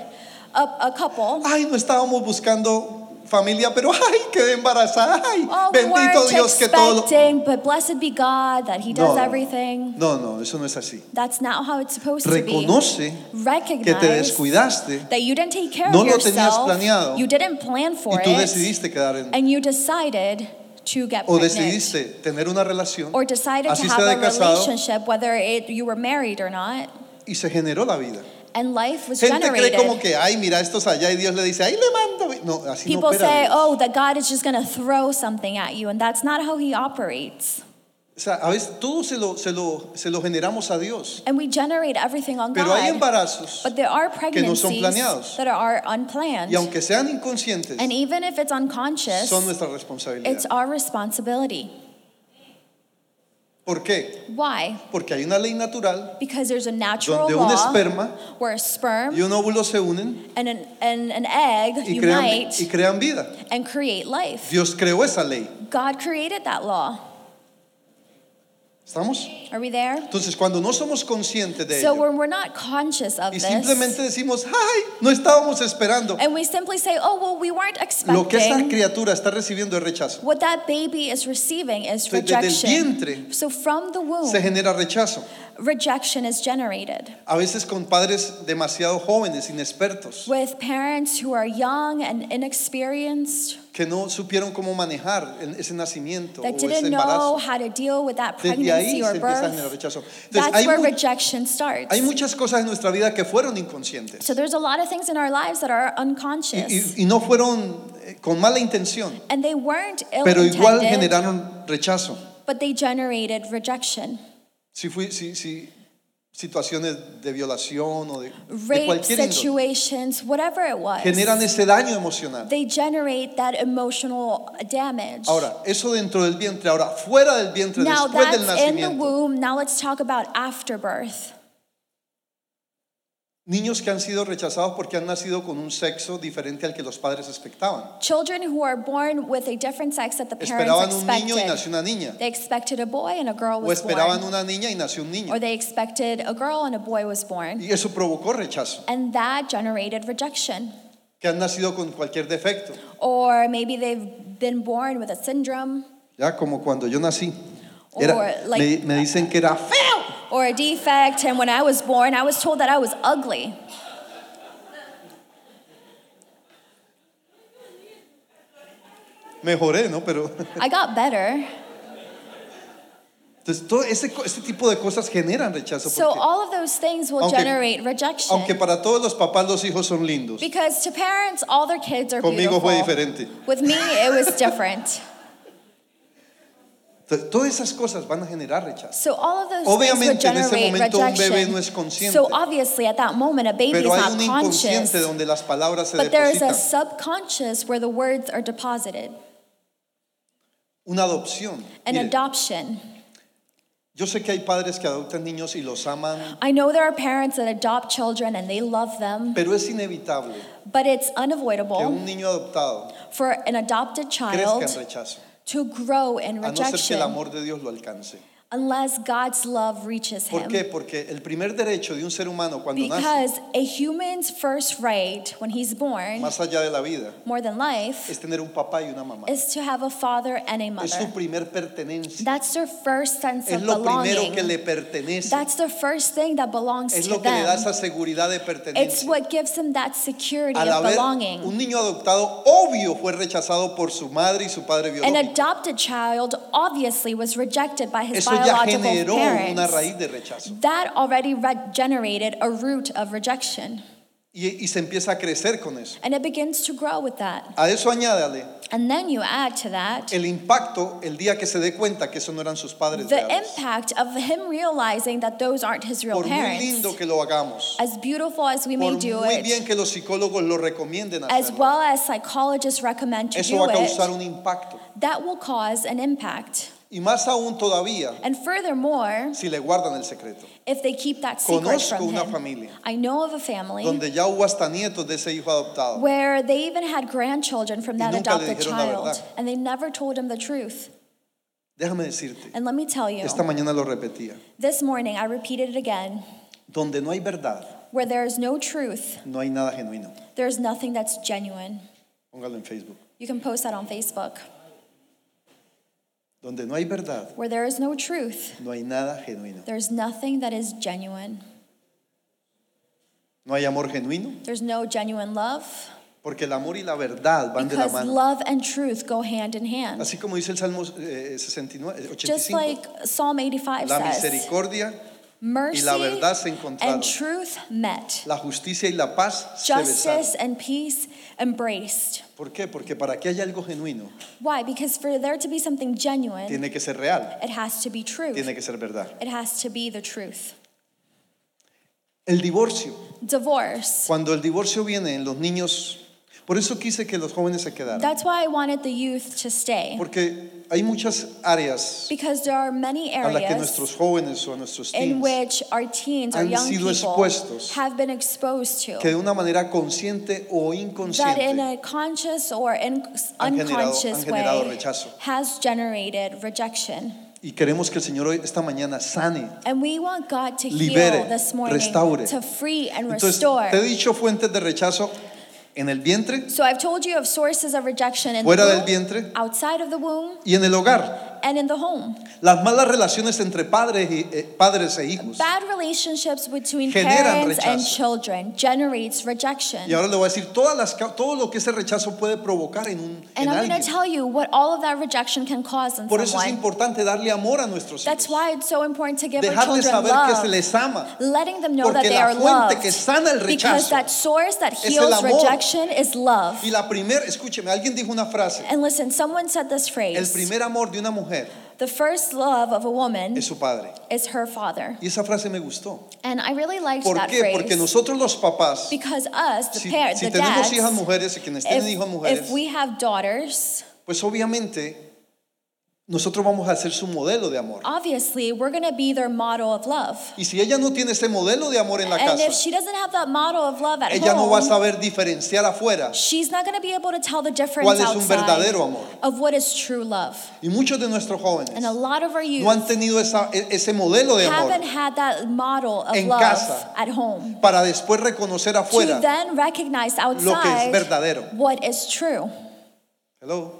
C: A, a couple.
B: Ay, no estábamos buscando familia, pero ay, quedé embarazada. Ay,
C: Oh, we
B: bendito
C: weren't
B: Dios que todo. lo-".
C: expecting, but blessed be God that He does
B: No,
C: everything.
B: no, no, eso no es así.
C: That's not how it's supposed
B: Reconoce
C: to be. Recognize
B: que te descuidaste
C: that you didn't take care
B: No
C: of
B: lo tenías
C: yourself.
B: planeado.
C: you didn't plan for
B: y tú
C: it.
B: decidiste quedar en
C: And you decided to get
B: o
C: pregnant.
B: decidiste tener una relación,
C: or decided
B: así
C: to have
B: sea de
C: a
B: casado
C: relationship, whether it, you were married or not,
B: y se generó la vida.
C: and life was
B: Gente cree
C: generated.
B: como que, ay, mira estos allá y Dios le dice, ahí le mando. No, así no
C: People
B: opera
C: say,
B: Dios.
C: oh, that God is just going to throw something at you, and that's not how He operates.
B: O sea, a veces todo se lo, se lo, se lo generamos a Dios.
C: And we generate everything on
B: Pero hay
C: God.
B: embarazos
C: but there are
B: que no son
C: pregnancies
B: planeados.
C: that are unplanned.
B: y aunque sean inconscientes,
C: and even if it's unconscious,
B: son nuestra responsabilidad.
C: it's our responsibility.
B: ¿Por qué?
C: Why?
B: Porque hay una ley natural
C: Because there's a natural
B: donde un
C: law
B: esperma
C: where a sperm
B: y un óvulo se unen
C: and, an, and an egg
B: y crean,
C: unite
B: y crean vida.
C: and create life.
B: Dios creó esa ley.
C: God created that law.
B: ¿Estamos?
C: Are we there?
B: Entonces, cuando no somos conscientes de
C: So
B: ello
C: when we're not conscious of
B: y
C: this,
B: simplemente decimos, ay, no estábamos esperando,
C: and we simply say, "Oh well, we weren't expecting,"
B: lo que esa criatura está recibiendo es rechazo.
C: what that baby is receiving is
B: Entonces, desde el
C: rejection.
B: vientre
C: so from the womb,
B: se genera rechazo.
C: rejection is generated
B: A veces con padres demasiado jóvenes, inexpertos,
C: with parents who are young and inexperienced
B: que no supieron cómo manejar el- ese nacimiento o
C: that
B: ese
C: didn't know
B: embarazo.
C: how to deal with that
B: Desde ahí
C: pregnancy
B: se
C: or
B: empieza a generar
C: birth.
B: rechazo. Entonces,
C: That's
B: hay,
C: where
B: mu-
C: rejection starts.
B: hay muchas cosas en nuestra vida que fueron inconscientes
C: so there's a lot of things in our lives that are
B: y,
C: unconscious,
B: y- y no fueron eh, con mala intención,
C: and they weren't
B: pero igual
C: ill-intended,
B: generaron rechazo.
C: but they generated rejection.
B: Si, fui, si, si situaciones de violación o de, de
C: rape
B: cualquier índole
C: situations, whatever it was.
B: generan ese daño emocional.
C: they generate that emotional damage.
B: Ahora, eso dentro del vientre, ahora fuera del vientre,
C: now
B: después
C: that's
B: del
C: in the
B: nacimiento,
C: womb. Now let's talk about afterbirth.
B: niños que han sido rechazados porque han nacido con un sexo diferente al que los padres expectaban.
C: Children who are born with a different sex that the
B: Esperaban
C: parents
B: un niño y nació
C: expected.
B: una niña,
C: They expected a boy and a girl
B: o
C: was
B: esperaban
C: born.
B: una niña y nació un niño,
C: Or they expected a girl and a boy was born.
B: y eso provocó rechazo.
C: And that generated rejection.
B: Que han nacido con cualquier defecto,
C: Or maybe they've been born with a syndrome
B: ya como cuando yo nací. Era-
C: Or, like-
B: me, me dicen que era feo.
C: or a defect. And when I was born, I was told that I was ugly.
B: Mejoré, ¿no? Pero
C: I got better.
B: entonces todo ese, co- ese tipo de cosas generan rechazo.
C: So
B: porque-
C: all of those things will
B: Aunque-
C: generate rejection.
B: Aunque para todos los papás los hijos son lindos.
C: because to parents, all their kids are
B: Conmigo
C: beautiful.
B: fue diferente.
C: With me, it was different.
B: Entonces, todas esas cosas van a generar rechazo.
C: So all of those things would
B: Obviamente, en ese
C: generate
B: momento, un
C: rejection.
B: bebé no es consciente.
C: so obviously, at that moment, a baby
B: Pero
C: is
B: hay
C: not
B: un
C: conscious.
B: inconsciente donde las palabras se
C: But there is a
B: depositan.
C: subconscious where the words are deposited.
B: Una adopción.
C: An
B: Mire,
C: adoption.
B: yo sé que hay padres que adoptan niños y los aman,
C: I know there are parents that adopt children and they love them,
B: pero es inevitable
C: but it's
B: que
C: unavoidable
B: un niño adoptado
C: for an adopted
B: crezca en
C: child
B: rechazo,
C: to grow in
B: a no ser que
C: rejection
B: el amor de Dios lo alcance.
C: unless God's love reaches
B: ¿Por
C: him.
B: qué? Porque el primer derecho de un ser humano cuando nace,
C: Because a human's first right when he's born,
B: más allá de la vida,
C: more than life,
B: es tener un papá y una mamá.
C: is to have a father and a
B: Es su
C: mother.
B: primer pertenencia.
C: That's their first sense
B: Es
C: of
B: lo primero que
C: belonging.
B: le pertenece.
C: That's the first thing that belongs
B: Es
C: to
B: lo que le da
C: them.
B: esa seguridad de
C: It's
B: pertenencia.
C: what gives them that security
B: Al
C: of
B: haber
C: belonging.
B: un niño adoptado, obvio fue rechazado por su madre y su padre
C: An
B: biológico.
C: adopted child obviously was rejected by his
B: Eso ya
C: biological
B: generó una
C: parents.
B: raíz de rechazo.
C: That already re- generated a root of rejection,
B: Y, y se empieza a crecer con eso.
C: and it begins to grow with that.
B: A eso añádale
C: And then you add to that
B: el impacto el día que se dé cuenta que eso no eran sus padres
C: the
B: reales.
C: impact of him realizing that those aren't his real
B: Por muy lindo
C: parents.
B: que lo hagamos,
C: As beautiful as we
B: por
C: may do
B: muy bien
C: it,
B: que los psicólogos lo recomienden
C: as
B: hacerlo,
C: well as psychologists recommend to
B: eso
C: do
B: va a causar
C: it,
B: un impacto.
C: that will cause an impact.
B: Y más aún todavía,
C: And furthermore,
B: si le guardan el secreto,
C: if they keep that secret
B: Conozco
C: from
B: una
C: him.
B: familia
C: I know of a family
B: donde ya hubo hasta nietos de ese hijo adoptado.
C: where they even had grandchildren from
B: Y
C: that
B: nunca le
C: adopted
B: dijeron la
C: child,
B: verdad.
C: and they never told him the truth.
B: Déjame decirte,
C: And let me tell you,
B: esta mañana lo repetía,
C: this morning I repeated it again
B: donde no hay verdad,
C: where there is no truth,
B: no hay nada genuino.
C: there is nothing that's genuine.
B: Póngalo en Facebook.
C: You can post that on Facebook.
B: Donde no hay verdad,
C: Where there is no truth,
B: no hay nada genuino.
C: there's nothing that is genuine.
B: No hay amor genuino,
C: There's no genuine love
B: porque el amor y la verdad van de la
C: because
B: mano.
C: love and truth go hand in hand.
B: Así como dice el Salmo eh, 69, eh, 85,
C: Just like Psalm 85
B: la
C: says,
B: misericordia,
C: mercy
B: verdad se encontraron.
C: and truth met,
B: la justicia y la paz se besaron.
C: justice and peace embraced.
B: ¿Por qué? Porque para que haya algo genuino,
C: Why? Because for there to be something genuine,
B: tiene que ser real,
C: it has to be truth.
B: tiene que ser verdad.
C: It has to be the truth.
B: El divorcio,
C: Divorce.
B: cuando el divorcio viene en los niños, por eso quise que los jóvenes se quedaran,
C: That's why I wanted the youth to stay.
B: porque hay muchas áreas
C: Because there are many
B: a las que nuestros
C: areas
B: jóvenes o a nuestros
C: in
B: teens
C: which our teens, our
B: han
C: young
B: sido
C: people,
B: expuestos
C: have been exposed
B: que de
C: to.
B: una manera consciente o
C: That in
B: inconsciente
C: a conscious or in
B: Han generado-
C: unconscious
B: han generado
C: way
B: rechazo.
C: has generated rejection.
B: y queremos que el Señor hoy esta mañana sane.
C: And we want God to heal
B: Libere,
C: this morning,
B: restaure.
C: to free and
B: Entonces, te he
C: restore.
B: dicho fuentes de rechazo en el vientre,
C: So I've told you of sources of rejection in
B: fuera
C: the
B: del
C: womb,
B: vientre
C: outside of the womb,
B: y en el hogar.
C: and in the home.
B: Las malas relaciones entre padres, y, eh, padres e hijos.
C: Bad relationships between
B: Generan
C: parents and
B: rechazo.
C: children generates rejection.
B: Y ahora le voy a decir todas las, ca- todo lo que ese rechazo puede provocar en, un, en
C: And I'm going to
B: alguien.
C: tell you what all of that rejection can cause in
B: Por eso es
C: someone.
B: importante darle amor a nuestros
C: That's
B: hijos.
C: why it's so important to give our
B: Dejarles
C: children
B: saber que
C: love.
B: se les ama.
C: letting them know
B: Porque
C: that they
B: la
C: are
B: fuente
C: loved.
B: que sana el
C: because
B: rechazo
C: that source that
B: el
C: heals
B: amor.
C: rejection is love.
B: Y la primera, escúcheme, alguien dijo una frase.
C: And listen, someone said this
B: El
C: phrase
B: primer amor de una mujer
C: The first love of a woman
B: es su padre.
C: is her father.
B: Y esa frase me gustó.
C: And I really liked
B: ¿Por
C: that
B: qué?
C: phrase.
B: Porque nosotros los papás,
C: because us, the
B: si,
C: parents,
B: si
C: the dads,
B: tenemos hijas mujeres y quienes tienen hijas
C: if,
B: mujeres,
C: if we have daughters,
B: pues obviamente nosotros vamos a ser su modelo de amor.
C: obviously we're going to be their model of love.
B: Y si ella no tiene ese modelo de amor en la
C: And
B: casa,
C: if she doesn't have that model of love at
B: ella no
C: home,
B: va a saber diferenciar afuera.
C: she's not going to be able to tell the difference
B: ¿Cuál es un
C: outside
B: verdadero amor?
C: of what is true love.
B: Y muchos de nuestros jóvenes
C: And a lot of our youth
B: no han tenido esa- e- ese modelo de amor
C: haven't had that model of
B: En
C: love
B: casa.
C: at home
B: para después reconocer
C: to
B: afuera.
C: then recognize outside
B: verdadero.
C: what is true.
B: Hello.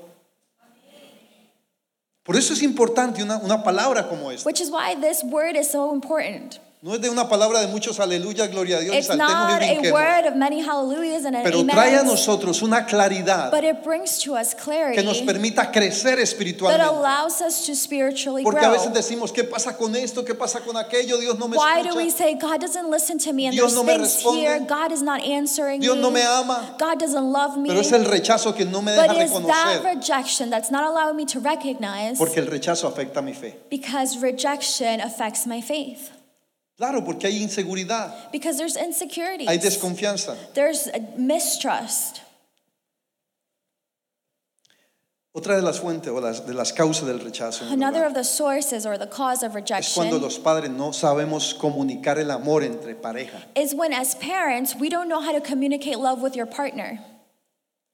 B: Por eso es importante una, una palabra como esta.
C: Which is why this word is so important.
B: No es de una palabra de muchos aleluya, gloria a Dios, y
C: It's
B: saltemos y
C: not a
B: brinquemos.
C: word of many hallelujahs and an
B: Pero trae a
C: amens,
B: nosotros una claridad
C: but it brings to us
B: que nos
C: clarity
B: permita crecer
C: that
B: espiritualmente.
C: allows us to spiritually
B: Porque a veces
C: grow.
B: decimos, ¿qué pasa con esto? ¿Qué pasa con aquello? Dios no me
C: Why do we
B: escucha.
C: say God doesn't listen to me and
B: Dios no
C: there's
B: me
C: things here?
B: responde.
C: God is not answering
B: Dios
C: me.
B: no me ama.
C: God doesn't love me.
B: Pero es el rechazo que no me
C: but
B: deja
C: it's that
B: reconocer.
C: rejection that's not allowing me to recognize
B: Porque el rechazo afecta mi fe.
C: because rejection affects my faith.
B: Claro, porque hay inseguridad,
C: Because there's insecurity.
B: hay desconfianza.
C: There's mistrust.
B: Otra de las fuentes o las, de las causas del rechazo en el
C: Another
B: hogar
C: of the sources or the cause of
B: es cuando
C: rejection
B: los padres no sabemos comunicar el amor entre pareja.
C: is when, as parents, we don't know how to communicate love with your partner.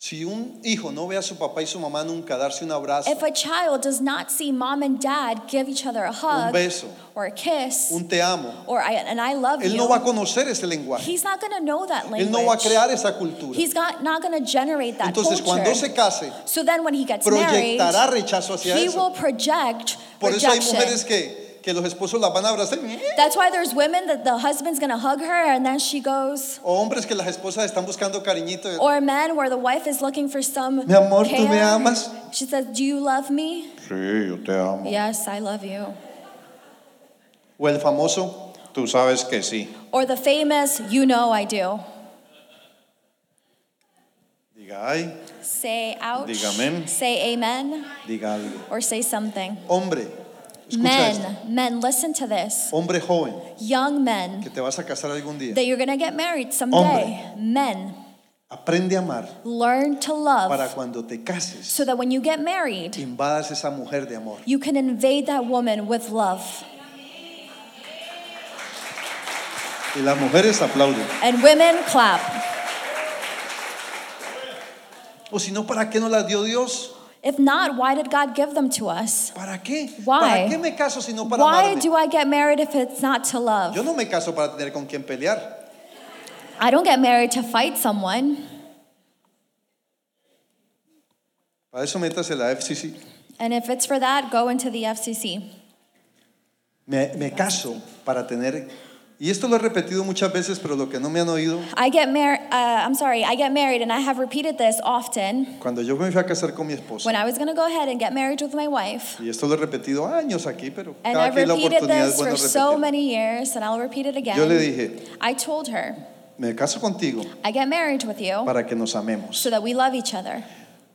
B: Si un hijo no ve a su papá y su mamá nunca darse un abrazo,
C: If a child does not see mom and dad give each other a hug
B: beso.
C: or a kiss
B: un te amo,
C: or I, and I love
B: él
C: you,
B: no va a conocer ese lenguaje.
C: he's not going to know that language.
B: Él no va a crear esa cultura.
C: He's got, not going to generate that
B: Entonces, cuando
C: culture.
B: se case,
C: so then when he gets married,
B: proyectará rechazo hacia
C: he will
B: eso.
C: project
B: Por eso hay
C: rejection.
B: mujeres que, que los esposos las van a abrazar.
C: That's why there's women that the husband's going to hug her and then she goes.
B: O hombres que las esposas están buscando cariñito.
C: Or men where the wife is looking for some
B: Mi amor, ¿tú
C: care.
B: me amas?
C: She says, "Do you love me?"
D: Sí, yo te amo.
C: Yes, I love you.
B: O el famoso,
D: Tú sabes que sí.
C: Or the famous, "You know I do."
D: Diga ay,
C: Say ouch.
D: Diga amén.
C: Say amen
D: diga algo.
C: or say something.
B: hombre, escucha esto.
C: Men, men, listen to this.
B: Hombre joven,
C: Young men
B: que te vas a casar algún día.
C: that you're going to get married someday.
B: Hombre.
C: Men,
B: Aprende a amar
C: learn to
B: para
C: love
B: cuando te cases,
C: so that when you get married,
B: invadas esa mujer de amor.
C: you can invade that woman with love.
B: Y las mujeres aplauden.
C: And women clap.
B: O si no, ¿para qué no las dio Dios?
C: If not, why did God give them to us?
B: ¿Para qué?
C: Why?
B: ¿Para qué me caso si no para
C: Why
B: amarme?
C: do I get married if it's not to
B: Yo
C: love?
B: no me caso para tener con quién pelear.
C: I don't get married to fight someone.
B: Para eso métase la FCC.
C: And if it's for that, go into the FCC.
B: Me, me caso para tener, y esto lo he repetido muchas veces, pero lo que no me han oído,
C: I get married, uh, I'm sorry, I get married, and I have repeated this often.
B: cuando yo me fui a casar con mi esposa,
C: When I was gonna go ahead and get married with my wife,
B: y esto lo he repetido años aquí, pero
C: and
B: cada
C: I've
B: que hay la
C: repeated
B: oportunidad es
C: this
B: bueno
C: for so
B: repetir.
C: many years, and I'll repeat it
B: Yo le
C: again.
B: dije,
C: I told her,
B: me caso contigo
C: I get married with you
B: para que nos amemos.
C: so that we love each other.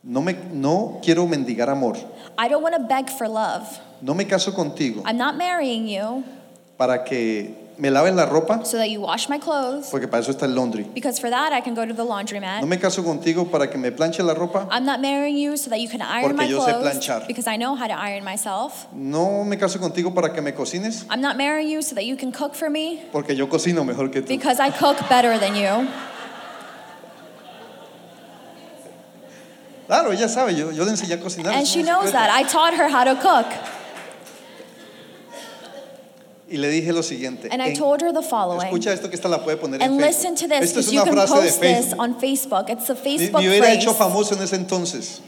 B: No, me, no quiero mendigar amor.
C: I don't wanna beg for love.
B: No me caso contigo
C: I'm not marrying you
B: para que me laves la ropa,
C: so that you wash my clothes,
B: porque para eso está el laundry.
C: because for that I can go to the laundromat.
B: No me caso contigo para que me planche la ropa.
C: I'm not marrying you so that you can iron
B: Porque
C: my
B: yo sé
C: clothes
B: planchar.
C: because I know how to iron myself.
B: No me caso contigo para que me cocines,
C: I'm not marrying you so that you can cook for me
B: porque yo cocino mejor que tú.
C: because I cook better than you.
B: Claro, ella sabe, yo, yo le enseñé a cocinar.
C: And
B: eso
C: she
B: no es
C: knows
B: secreto.
C: that. I taught her how to cook.
B: Y le dije lo siguiente.
C: And I
B: en-
C: told her the following.
B: escucha esto que esta la puede poner
C: And
B: en Facebook.
C: listen to this
B: Esta es
C: because you
B: una
C: can
B: frase de
C: post this
B: Facebook.
C: on Facebook. It's a
B: Ni-
C: Facebook
B: Me hubiera hecho
C: phrase.
B: famoso en ese entonces,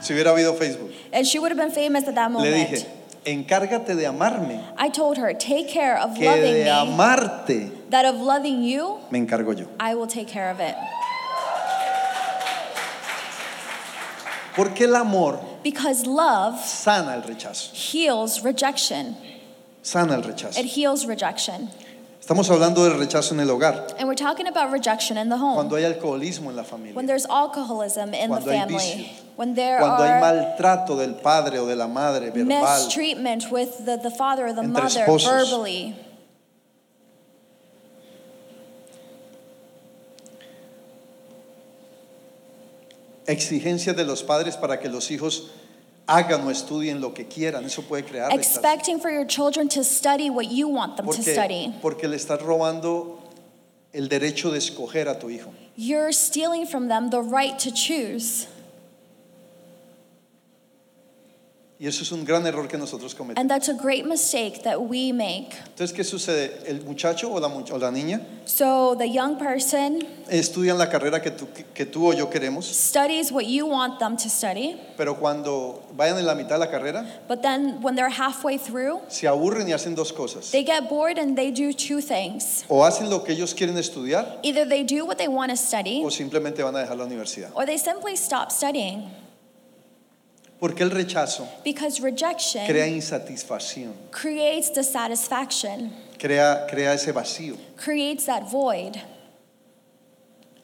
B: si hubiera habido Facebook.
C: And she would have been famous at
B: Le
C: that moment.
B: dije, encárgate de amarme,
C: I told her, take care of
B: que
C: loving
B: de
C: me.
B: amarte
C: That of loving you,
B: me encargo yo.
C: I will take care of it.
B: Porque el amor
C: Because love
B: sana el rechazo,
C: heals rejection.
B: sana el rechazo.
C: It heals rejection.
B: Estamos hablando del rechazo en el hogar,
C: And we're talking about rejection in the home.
B: cuando hay alcoholismo en la
C: When
B: familia,
C: there's alcoholism in the
B: Cuando hay
C: family,
B: vicio.
C: when there
B: cuando hay
C: are
B: maltrato del padre o de la madre verbal,
C: mistreatment with the, the father or the
B: Entre
C: mother
B: esposos.
C: verbally,
B: exigencias de los padres para que los hijos hagan o estudien lo que quieran, eso puede crear rechazo.
C: expecting for your children to study what you want them to
B: Porque,
C: study.
B: porque le estás robando el derecho de escoger a tu hijo.
C: You're stealing from them the right to choose.
B: Y eso es un gran error que nosotros
C: And
B: cometemos.
C: that's a great mistake that we make.
B: Entonces, ¿qué sucede? El muchacho o la, much- o la niña
C: So the young person
B: estudian la carrera que tú, que, que tú o yo queremos,
C: studies what you want them to study,
B: pero cuando vayan en la mitad de la carrera,
C: but then when they're halfway through,
B: se aburren y hacen dos cosas.
C: they get bored and they do two things.
B: O hacen lo que ellos quieren estudiar
C: Either they do what they want to study,
B: o simplemente van a dejar la universidad.
C: or they simply stop studying
B: Porque el rechazo
C: because rejection
B: crea insatisfacción,
C: creates dissatisfaction,
B: crea, crea ese vacío.
C: creates that void.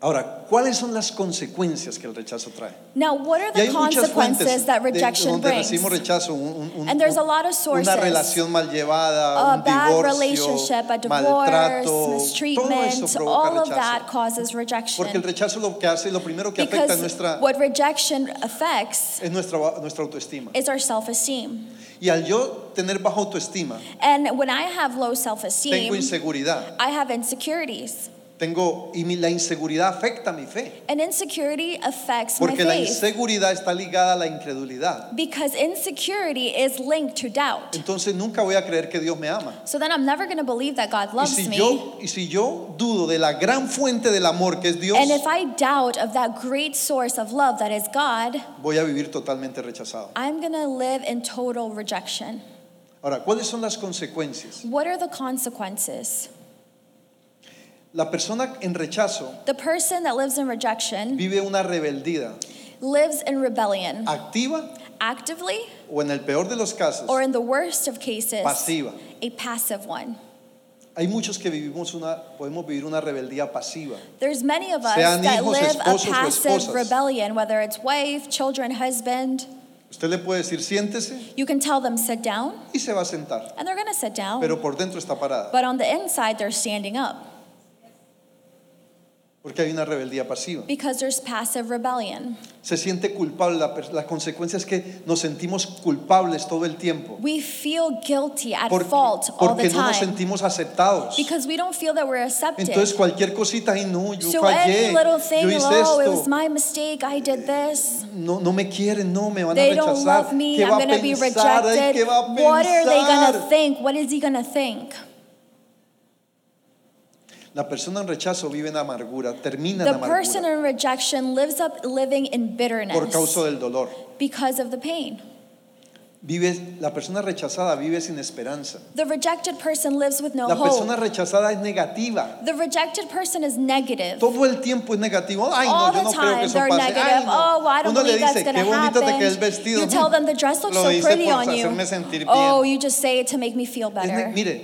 B: Ahora, ¿cuáles son las consecuencias que el rechazo trae?
C: Now, what are
B: Y hay
C: the
B: muchas fuentes
C: consequences that
B: de-
C: rejection
B: donde
C: brings?
B: recibimos rechazo, un- un- un-
C: And there's a lot
B: una
C: of sources.
B: relación mal llevada,
C: A
B: un
C: bad
B: divorcio,
C: relationship, a divorce,
B: maltrato, todo eso
C: mistreatment,
B: provoca
C: all of
B: rechazo.
C: that causes
B: Porque el
C: rejection.
B: rechazo lo que hace, lo primero que afecta es
C: Because
B: nuestra,
C: what rejection affects
B: es nuestra, nuestra autoestima.
C: is our self esteem.
B: Y al yo tener baja autoestima,
C: And when I have low self
B: tengo
C: esteem,
B: inseguridad,
C: I have insecurities.
B: tengo y mi- la inseguridad afecta mi fe,
C: And insecurity affects my
B: porque la
C: faith
B: inseguridad está ligada a la incredulidad.
C: because insecurity is linked to doubt.
B: Entonces nunca voy a creer que Dios me ama.
C: So then I'm never going to believe that God
B: Y
C: loves
B: si
C: me.
B: yo y si yo dudo de la gran fuente del amor que es Dios,
C: and if I doubt of that great source of love that is God,
B: voy a vivir totalmente rechazado.
C: I'm going to live in total rejection.
B: Ahora, ¿cuáles son las consecuencias?
C: What are the consequences?
B: La persona en rechazo
C: The person that lives in rejection
B: vive una rebeldía
C: lives in rebellion,
B: activa
C: actively
B: o en el peor de los casos
C: or in the worst of cases,
B: pasiva.
C: a passive one.
B: Hay muchos que vivimos una podemos vivir una rebeldía pasiva.
C: There's many of us
B: Sean
C: that
B: hijos,
C: live
B: esposos
C: a
B: o
C: passive
B: esposas.
C: rebellion, whether it's wife, children, husband.
B: Usted le puede decir siéntese
C: You can tell them sit down,
B: y se va a sentar,
C: and they're going to sit down.
B: pero por dentro está parada,
C: but on the inside, they're standing up
B: porque hay una rebeldía pasiva.
C: because there's passive rebellion.
B: Se siente culpable, la, per- la consecuencia es que nos sentimos culpables todo el tiempo,
C: We feel guilty at
B: porque,
C: fault all the
B: porque no nos
C: time
B: sentimos aceptados.
C: because we don't feel that we're accepted.
B: Entonces cualquier cosita, ay no, yo
C: so
B: fallé,
C: every little thing,
B: yo hice
C: oh, it was
B: esto,
C: my mistake, I did this.
B: no, no me quieren, no, me van a
C: They don't
B: rechazar,
C: love me,
B: ¿qué
C: I'm
B: va a
C: going to be
B: pensar? Ay,
C: rejected.
B: ¿qué va a
C: What are they going to
B: pensar?
C: think? What is he going to think?
B: La persona en rechazo vive en amargura, termina en
C: The person
B: amargura
C: in rejection lives up living in bitterness
B: por causa del dolor.
C: because of the pain.
B: Vive, la persona rechazada vive sin esperanza.
C: The rejected person lives with no
B: La
C: hope.
B: persona rechazada es negativa.
C: the rejected person is negative.
B: Todo el tiempo es negativo. Ay,
C: All
B: no, yo
C: the
B: no creo que
C: time
B: eso
C: they're
B: pase. Ay,
C: negative. Oh,
B: no.
C: well, I don't
B: Uno le
C: believe that's
B: dice,
C: going
B: qué
C: to
B: bonito te quedó el
C: happen.
B: vestido.
C: You tell them the dress looks
B: Lo
C: so
B: hice
C: pretty
B: por
C: on you.
B: hacerme sentir
C: Oh,
B: bien.
C: you just say it to make me feel
B: Es ne-
C: better.
B: mire,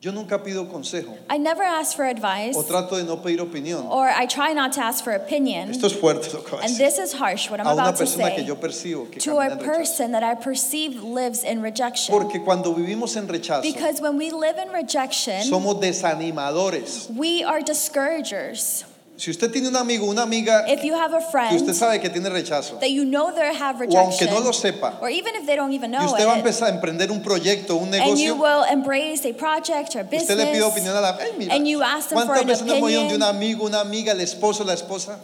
B: yo nunca pido consejo
C: I never ask for advice,
B: o trato de no pedir opinión.
C: or I try not to ask for opinion.
B: Esto es fuerte lo que voy a
C: Oh, and
B: decir.
C: this is harsh, what I'm
B: A una
C: about to
B: persona que
C: say.
B: yo percibo que
C: To
B: camina
C: a
B: en rechazo.
C: person that I perceive lives in rejection.
B: Porque cuando vivimos en rechazo,
C: because when we live in rejection,
B: somos desanimadores.
C: we are discouragers.
B: Si usted tiene un amigo, una amiga
C: If you have a
B: que
C: friend
B: usted sabe que tiene rechazo,
C: that you know they have
B: o aunque
C: rejection,
B: no lo sepa,
C: or even if they don't even
B: y
C: know
B: usted va a
C: it,
B: empezar a emprender un proyecto, un
C: and you
B: negocio,
C: will embrace a project or
B: usted le pide opinión
C: business,
B: a la "Ay, mira,
C: and you ask them for
B: ¿Cuántas
C: an
B: veces no hemos ido de
C: opinion?
B: un amigo, una amiga, el esposo, la esposa?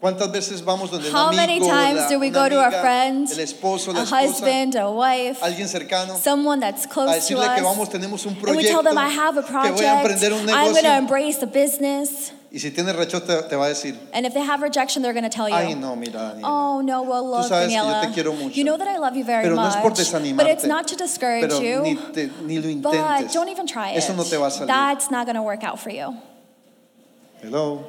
B: ¿Cuántas veces vamos donde un
C: how many
B: amigo,
C: times
B: la-
C: do we
B: una
C: go to our
B: amiga,
C: friends,
B: el esposo, la
C: a
B: esposa,
C: husband, a wife,
B: alguien cercano,
C: someone that's
B: a
C: close to
B: decirle que vamos,
C: us?
B: tenemos un
C: And we
B: proyecto,
C: tell them, I have a
B: que
C: project,
B: voy a emprender un
C: I'm em- going to
B: negocio,
C: embrace a business.
B: y si tienes rechazo te, te va a decir,
C: And if they have rejection, they're going to tell
B: ay
C: you,
B: no, mira, Daniel.
C: Oh, no, well, look,
B: sabes que yo te
C: Daniela,
B: quiero mucho.
C: you know that I love you very
B: Pero no
C: much.
B: es por
C: but it's
B: desanimarte.
C: not to discourage
B: Pero
C: you.
B: ni, te- ni lo
C: But
B: intentes.
C: don't even try it.
B: Eso no te va a salir.
C: That's not going to work out for you.
B: Hello.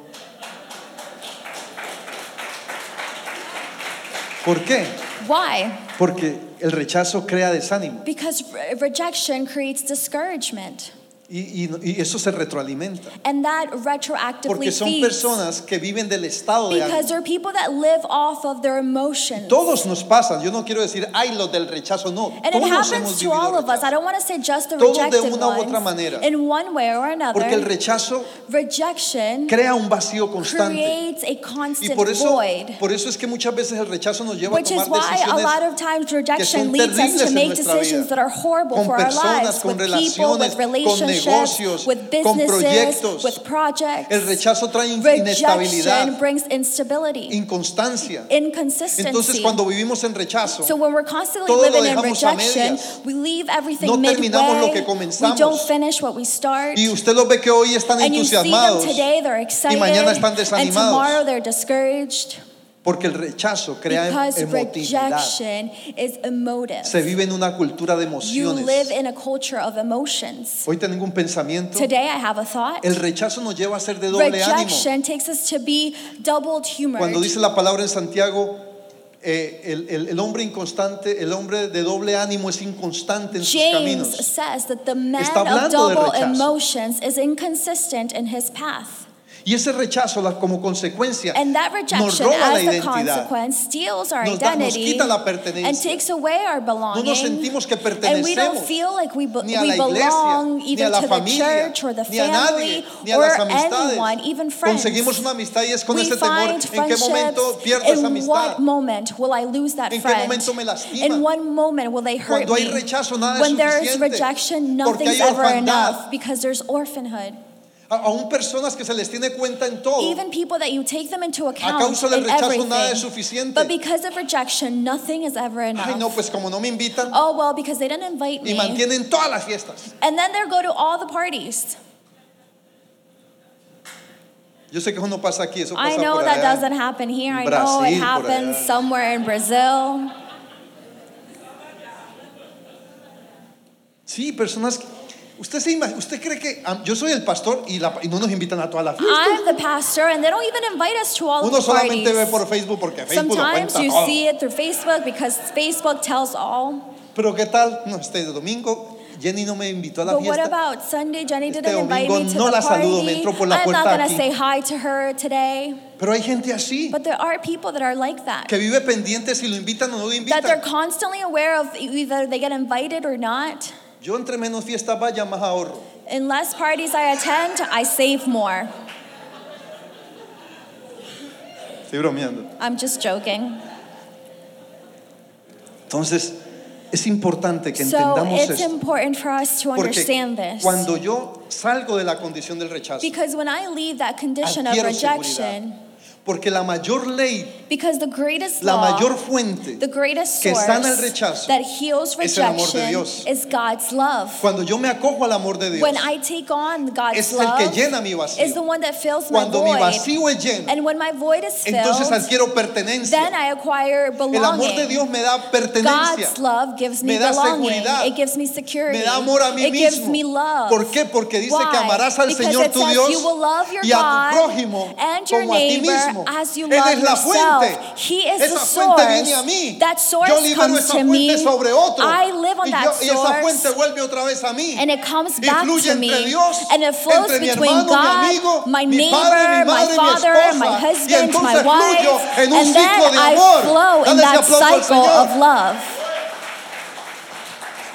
B: ¿Por qué?
C: Why?
B: Porque el rechazo crea desánimo
C: Because re- rejection creates discouragement,
B: y, y- y eso se retroalimenta.
C: and that retroactively
B: Porque son
C: feeds.
B: personas que viven del estado de
C: because
B: ánimo.
C: there are people that live off of their emotions.
B: Todos nos pasan. Yo no quiero decir, ay, los del rechazo, no.
C: and it
B: Todos
C: happens
B: hemos
C: to
B: vivido
C: all of us.
B: rechazo.
C: I don't want to say just the
B: Todos de
C: rejected
B: una u
C: ones.
B: otra manera.
C: In one way or another,
B: Porque el rechazo
C: rejection
B: crea un vacío constante.
C: creates a
B: Y
C: constant
B: por eso,
C: void.
B: por eso es que muchas veces el rechazo nos lleva a
C: Which is
B: tomar
C: why a lot
B: decisiones
C: of times
B: son
C: rejection leads us
B: terribles
C: to
B: en
C: make
B: nuestra
C: decisions
B: vida.
C: that are horrible
B: Con
C: for our
B: personas,
C: lives
B: con
C: with people, with
B: relaciones, con
C: relationships,
B: negocios,
C: with
B: con
C: businesses,
B: proyectos.
C: with projects.
B: El rechazo trae in-
C: Rejection
B: inestabilidad,
C: brings instability,
B: inconstancia. Entonces
C: inconsistency.
B: cuando vivimos en rechazo,
C: So when we're constantly
B: todo lo
C: living in
B: dejamos a
C: rejection,
B: medias.
C: we leave everything
B: No
C: midway.
B: terminamos lo que
C: we don't
B: comenzamos.
C: finish what we start.
B: y usted los ve que hoy están
C: and you see them
B: entusiasmados
C: today, they're excited,
B: mañana están
C: and
B: desanimados.
C: tomorrow they're discouraged
B: porque el rechazo crea
C: because
B: emotividad.
C: rejection is emotive.
B: Se vive en una cultura de
C: You live
B: emociones.
C: in a culture of emotions.
B: Hoy tengo un pensamiento.
C: Today I have a thought.
B: El rechazo nos lleva a ser de doble ánimo.
C: Rejection takes us to be doubled humored.
B: Cuando dice la palabra en Santiago, eh, el, el- el hombre inconstante, el hombre de doble ánimo es inconstante en sus
C: James
B: caminos.
C: says that the man
B: Está
C: of
B: hablando de
C: double
B: rechazo.
C: emotions is inconsistent in his path.
B: Y ese rechazo, la- como consecuencia,
C: And that
B: nos
C: rejection,
B: roba la
C: as a
B: identidad.
C: consequence, steals our
B: Nos da- nos
C: identity
B: quita la pertenencia.
C: and takes away our belonging.
B: sentimos que
C: and we don't
B: pertenecemos
C: feel like we, be-
B: ni a
C: we
B: la iglesia,
C: belong
B: ni
C: either
B: a la
C: to
B: familia,
C: the church or the
B: ni a nadie,
C: family
B: ni a
C: or
B: las amistades.
C: anyone, even friends.
B: Conseguimos una amistad y es con
C: we
B: ese temor
C: find
B: en qué momento
C: friendships.
B: pierdo esa
C: in what
B: amistad.
C: moment will I lose that
B: ¿En qué
C: friend?
B: momento me lastima?
C: In one moment will they hurt
B: Cuando hay
C: me?
B: rechazo, nada es
C: when there is
B: suficiente,
C: rejection,
B: porque hay
C: nothing's ever
B: orfandad.
C: enough because there's orphanhood.
B: A- Aún personas que se les tiene cuenta en todo.
C: Even people that you take them into account
B: causa del
C: in
B: rechazo,
C: everything.
B: nada es suficiente.
C: But because of rejection, nothing is ever enough.
B: Ay, no, pues como no me invitan
C: Oh well, because they didn't invite
B: y
C: me.
B: mantienen todas las fiestas.
C: And then they go to all the parties.
B: Yo sé que eso no pasa aquí, eso
C: I
B: pasa
C: know
B: por
C: that
B: allá.
C: doesn't happen here. I
B: En
C: know it
B: Brasil, por
C: happens
B: allá.
C: somewhere in Brazil.
B: Sí, personas que- usted se ima- usted cree que ah, yo soy el pastor y, la- y no nos invitan a toda la fiesta.
C: I'm the pastor, and they don't even invite us to all
B: Uno
C: the parties.
B: solamente ve por Facebook porque Facebook lo
C: Sometimes
B: cuenta
C: you
B: todo.
C: see it through Facebook because Facebook tells all.
B: Pero qué tal, no este domingo Jenny no me invitó a la
C: But what
B: fiesta.
C: about Sunday? Jenny
B: Este
C: didn't invite
B: domingo
C: me to
B: no
C: the
B: la
C: party.
B: saludo, me entró por la
C: I'm not
B: puerta
C: gonna
B: aquí.
C: say hi to her today.
B: Pero hay gente así
C: But there are people that are like that.
B: que vive pendiente si lo invitan o no lo
C: That they're
B: invitan.
C: constantly aware of either they get invited or not.
B: Yo entre menos fiesta vaya más ahorro.
C: In less parties I attend, I save more.
B: Estoy bromeando.
C: I'm just joking.
B: Entonces, es importante que
C: So
B: entendamos
C: it's
B: esto
C: important for us to
B: porque
C: understand this.
B: cuando yo salgo de la condición del rechazo,
C: Because when I leave that condition of
B: adquiero seguridad.
C: rejection,
B: Porque la mayor ley,
C: because the greatest
B: la
C: law,
B: mayor fuente
C: the greatest
B: que
C: source
B: sana el rechazo
C: that heals
B: es el amor de
C: rejection
B: Dios.
C: is God's love.
B: Cuando yo me acojo al amor de Dios,
C: When I take on God's
B: Es el que
C: love,
B: llena mi vacío.
C: is the one that fills my
B: cuando mi
C: void.
B: vacío es lleno,
C: and when my void is filled,
B: entonces adquiero
C: then
B: pertenencia.
C: I acquire belonging.
B: El amor de Dios me da pertenencia,
C: God's love gives
B: Me
C: me,
B: da
C: belonging.
B: seguridad.
C: It gives me security.
B: me da amor a mí
C: it gives me
B: mismo.
C: love.
B: ¿Por qué? Porque dice
C: Why?
B: que amarás al
C: Because
B: Señor
C: it
B: tu
C: says
B: Dios
C: you will love your
B: y a tu
C: God
B: prójimo
C: and your
B: como a ti
C: neighbor
B: mismo.
C: as you
B: Él
C: love
B: es la
C: yourself.
B: fuente.
C: He is
B: Esa
C: the
B: fuente
C: source.
B: viene a mí.
C: That source
B: yo libero
C: comes
B: esa
C: to
B: fuente
C: me.
B: sobre otro.
C: I live on
B: y,
C: that
B: yo- y esa
C: source.
B: fuente vuelve otra vez a mí.
C: And it comes
B: Y
C: back
B: fluye
C: to
B: entre
C: me.
B: Dios,
C: and it flows
B: entre mi
C: between
B: hermano, mi
C: God,
B: amigo,
C: my
B: mi
C: neighbor,
B: padre, mi madre,
C: my
B: mi
C: father, my
B: esposa. Y
C: husband, my
B: entonces
C: wife.
B: fluyo en un
C: and then
B: ciclo de
C: I
B: amor.
C: flow in
B: Dale ese
C: that
B: aplauso al
C: cycle
B: Señor.
C: of love.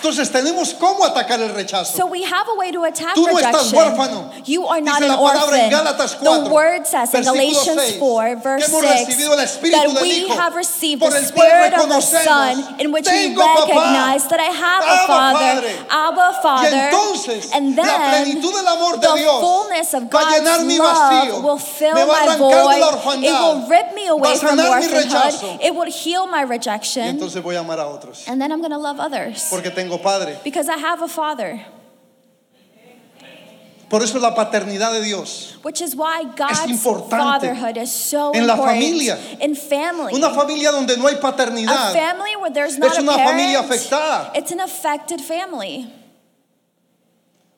B: Entonces tenemos cómo atacar el rechazo.
C: So we have a way to attack
B: Tú no
C: rejection.
B: estás huérfano.
C: You are not
B: Dice
C: an
B: la palabra en
C: orphan.
B: Gálatas 4,
C: the word says in
B: versículo
C: Galatians
B: 6,
C: 4, verse
B: que hemos
C: 6,
B: recibido el Espíritu
C: that
B: del
C: we
B: Hijo,
C: have received
B: por
C: the
B: el cual
C: Spirit of the
B: reconocemos,
C: Son, in which we
B: "Tengo papá,
C: recognize that I have
B: Abba
C: a Father,
B: Padre."
C: Abba
B: Y
C: Father.
B: entonces
C: and
B: la
C: then
B: plenitud del amor de
C: the
B: Dios
C: fullness of
B: va a
C: God's
B: llenar mi vacío,
C: love will fill
B: me va a
C: my
B: arrancar de la
C: void. It
B: orfandad,
C: will rip me
B: va a
C: away from
B: sanar mi
C: orphanhood.
B: rechazo.
C: It will heal my
B: Y
C: rejection.
B: entonces voy a amar a otros.
C: And then I'm going to love others
B: Porque tengo padre.
C: because I have a Father.
B: Por eso la paternidad de Dios.
C: Which is why God's
B: importante.
C: fatherhood is so
B: En la
C: important
B: familia.
C: in family.
B: Una familia donde no hay
C: a
B: paternidad
C: family where there's not
B: es
C: a
B: una
C: parent,
B: familia afectada.
C: It's an affected family.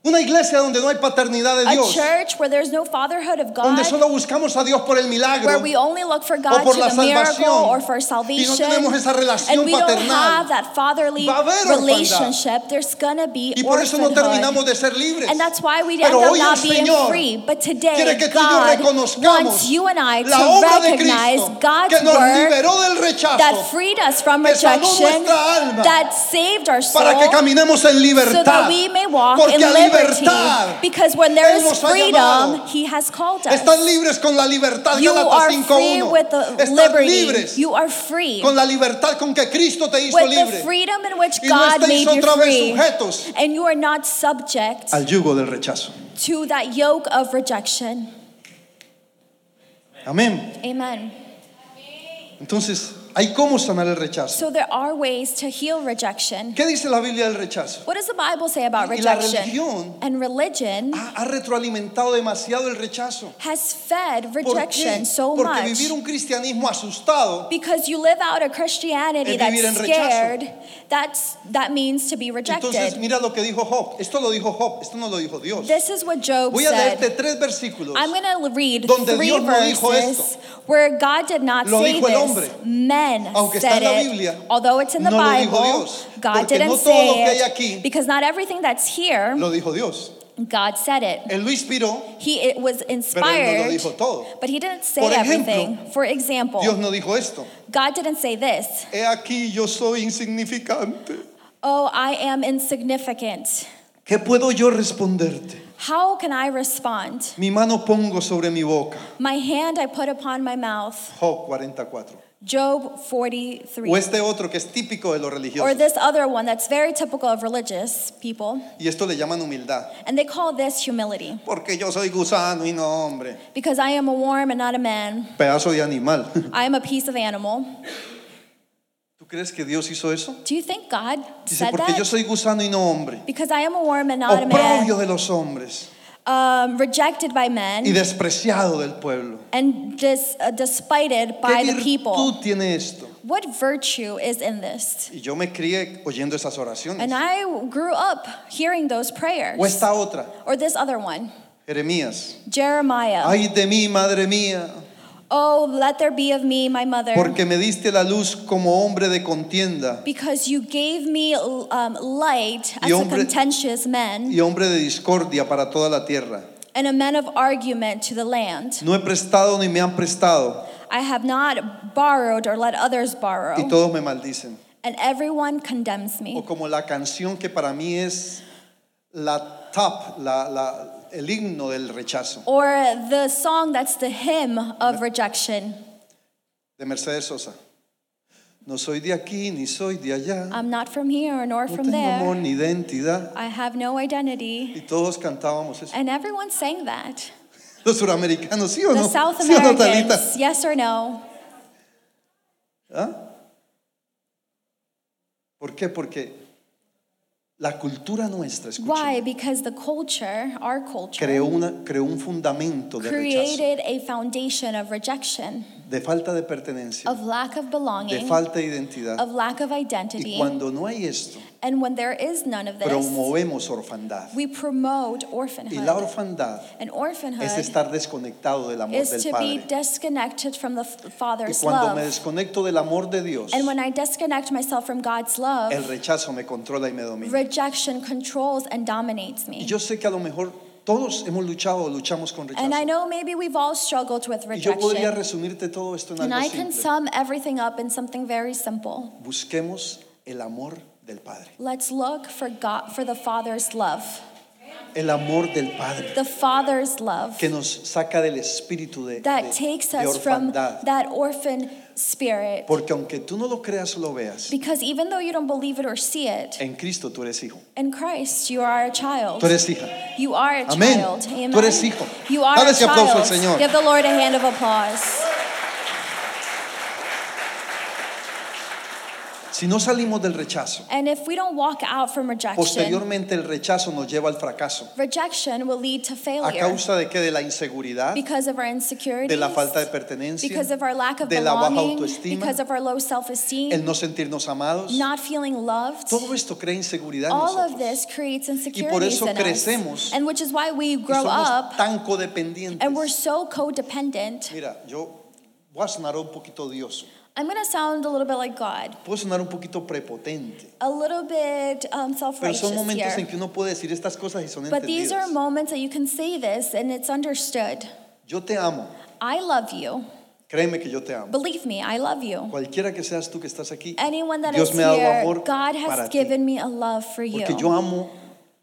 B: Una iglesia donde no hay paternidad de
C: A
B: Dios.
C: church where there's no fatherhood of God,
B: Donde solo buscamos a Dios por el
C: where
B: milagro.
C: we only look for God
B: por
C: to
B: la
C: the miracle
B: salvación.
C: or for
B: Y no
C: salvation.
B: tenemos esa relación
C: and we don't
B: paternal.
C: have that fatherly
B: Va a haber orfandad.
C: relationship. There's gonna be
B: Y por eso no
C: orphanhood.
B: terminamos de ser libres.
C: And that's why we
B: Pero
C: end up
B: hoy el
C: not being
B: Señor
C: free. But
B: quiere que tú y
C: today,
B: yo
C: God
B: reconozcamos
C: wants you and I
B: La obra
C: to
B: de
C: recognize
B: Cristo que
C: God's
B: nos
C: work
B: liberó del
C: that
B: rechazo
C: freed us from
B: que sanó
C: rejection,
B: nuestra alma,
C: that saved our soul,
B: para que caminemos en
C: so
B: libertad.
C: that we may walk
B: Porque
C: in
B: a libertad
C: liberty. Because when there
B: Él
C: is
B: nos ha
C: freedom,
B: llamado.
C: He has called us.
B: Están libres con la libertad
C: you are
B: Gálatas
C: free with
B: 5.1.
C: the
B: Están
C: liberty.
B: libres
C: You are free
B: con la libertad con que Cristo te hizo
C: with the
B: libre.
C: freedom in which
B: Y no
C: God
B: estáis
C: made you
B: otra vez
C: free.
B: sujetos
C: And you are not subject
B: al yugo del rechazo.
C: to that yoke of rejection.
B: Amén.
C: Amen.
B: Entonces, hay cómo sanar el rechazo.
C: So there are ways to heal rejection.
B: ¿Qué dice la Biblia del rechazo?
C: What does the Bible say about
B: Y la
C: rejection?
B: religión-
C: and religion
B: Ah, Ha, ha retroalimentado demasiado el rechazo.
C: has fed
B: ¿Por qué?
C: rejection so
B: Porque
C: much.
B: vivir un cristianismo asustado
C: Because you live out a Christianity
B: Es vivir en
C: that's
B: rechazo.
C: scared, that's, that means to be
B: Entonces
C: rejected.
B: mira lo que dijo Job. Esto lo dijo Job, esto no lo dijo Dios.
C: This is what Job
B: Voy a leerte
C: said.
B: tres versículos.
C: I'm going to read
B: donde
C: three
B: Dios no dijo
C: verses where God did not
B: Lo
C: say
B: dijo el
C: this.
B: hombre.
C: Men
B: Aunque está
C: said
B: en la
C: it.
B: Biblia,
C: Although it's in the
B: no lo dijo
C: Bible,
B: Dios,
C: God
B: porque
C: didn't
B: no todo lo
C: say
B: que hay
C: it
B: aquí
C: because not everything that's here
B: Lo dijo Dios.
C: God said it.
B: Él lo inspiró.
C: He it was inspired,
B: dijo todo.
C: but he didn't say
B: Por ejemplo,
C: everything. For example,
B: Dios no dijo esto.
C: God didn't say this.
B: He aquí yo soy insignificante.
C: Oh, I am insignificant.
B: ¿Qué puedo yo responderte?
C: How can I respond?
B: Mi mano pongo sobre mi boca.
C: My hand I put upon my mouth.
B: Job 44.
C: Job 43.
B: O este otro que es típico de los
C: or
B: religiosos.
C: this other one that's very typical of religious people,
B: Y esto le llaman humildad.
C: and they call this humility
B: Porque yo soy gusano y no hombre.
C: because I am a worm and not a man.
B: Pedazo de animal.
C: I am a piece of animal.
B: ¿Tú crees que Dios hizo eso?
C: Do you think God
B: Dice,
C: said
B: porque
C: that?
B: yo soy gusano y no hombre.
C: because I am a worm and not a man,
B: Oprobio de los hombres
C: um, rejected by
B: y
C: men,
B: despreciado del pueblo.
C: and dis, uh, despited by
B: ¿Qué
C: the people.
B: virtud tiene esto?
C: What virtue is in this?
B: Y yo me crié oyendo esas oraciones.
C: And I grew up hearing those prayers.
B: O esta otra,
C: Or this other one,
B: Jeremías.
C: Jeremiah.
B: Ay de mí, madre mía,
C: oh, let there be of me, my mother.
B: porque me diste la luz como hombre de contienda
C: Because you gave me um, light
B: Y
C: as a
B: hombre-
C: contentious man
B: y hombre de discordia para toda la tierra.
C: and a man of argument to the land.
B: No he prestado ni me han prestado
C: I have not borrowed or let others
B: y
C: borrow,
B: todos me maldicen.
C: and everyone condemns
B: O
C: me.
B: como la canción que para mí es la top, la- la- el himno del rechazo,
C: Or the song that's the hymn of rejection
B: de Mercedes Sosa. No soy de aquí ni soy de allá.
C: I'm not from here nor
B: No
C: from
B: tengo amor
C: there.
B: ni identidad.
C: I have no identity.
B: Y todos cantábamos eso.
C: And everyone sang that.
B: Los suramericanos, ¿sí o
C: The
B: no?
C: South
B: ¿Sí o no, Talita?
C: Americans, yes or no?
B: ¿Ah? ¿Por qué? Porque la cultura nuestra, escuchen,
C: Why? Because the culture, our culture,
B: creó, una- creó un fundamento de rechazo,
C: created a foundation of rejection.
B: de falta de pertenencia,
C: of lack of
B: de
C: belonging,
B: falta de identidad.
C: of lack of
B: Y
C: identity,
B: cuando no hay esto,
C: and when there is none of this,
B: promovemos orfandad.
C: we promote
B: Y la
C: orphanhood.
B: orfandad es
C: And orphanhood
B: estar desconectado del amor
C: is
B: del
C: to be
B: Padre.
C: disconnected from the f-
B: Y
C: Father's
B: cuando me
C: love.
B: desconecto del amor de Dios,
C: And when I disconnect myself from God's
B: el
C: love,
B: rechazo me controla y me domina.
C: rejection controls and dominates
B: Y
C: me.
B: yo sé que a lo mejor todos hemos luchado o luchamos con
C: And I
B: rechazo.
C: know maybe we've all struggled with
B: Y yo podría
C: rejection.
B: resumirte todo esto en
C: And I
B: algo
C: can
B: simple.
C: sum everything up in something very simple.
B: Busquemos el amor del Padre.
C: Let's look for God for the Father's love.
B: El amor del Padre
C: The Father's love.
B: que nos saca del espíritu de, de-
C: that takes
B: de
C: us from
B: orfandad.
C: that orphan spirit.
B: Porque aunque tú no lo creas o lo veas,
C: Because even though you don't believe it or see it,
B: en Cristo tú eres hijo.
C: in Christ you are a child.
B: Tú eres hija.
C: You are a
B: Amén.
C: child. Amen.
B: Tú eres hijo.
C: You are
B: Dale
C: a
B: ese aplauso al
C: child.
B: Señor.
C: Give the Lord a hand of applause.
B: Si no salimos del rechazo,
C: And if we don't walk out from rejection,
B: posteriormente el rechazo nos lleva al fracaso.
C: rejection will lead to
B: ¿A
C: failure
B: causa de qué? De la inseguridad,
C: because of our insecurity,
B: de la falta de pertenencia,
C: because of our lack of
B: de la baja
C: belonging,
B: autoestima,
C: because of our low self-esteem,
B: el no sentirnos amados.
C: not feeling loved.
B: Todo esto crea inseguridad en
C: All of
B: nosotros.
C: this creates insecurities
B: eso
C: in
B: crecemos
C: us, and which is why
B: Y
C: we grow
B: somos
C: up
B: tan codependientes.
C: and we're so codependent.
B: Mira, yo voy a sonar un poquito odioso,
C: I'm gonna sound a little bit like God,
B: puedo sonar un poquito prepotente,
C: a little bit
B: pero son
C: um, self-righteous
B: momentos en
C: here.
B: que uno puede decir estas cosas y son
C: But these are
B: entendidas.
C: moments that you can say this, and it's understood.
B: Yo te amo,
C: I love you.
B: créeme que yo te amo.
C: Believe me, I love you.
B: Cualquiera que seas tú que estás aquí,
C: Anyone that is
B: Dios me ha dado
C: here,
B: amor para
C: God has
B: ti,
C: given me a love for
B: porque yo
C: you
B: amo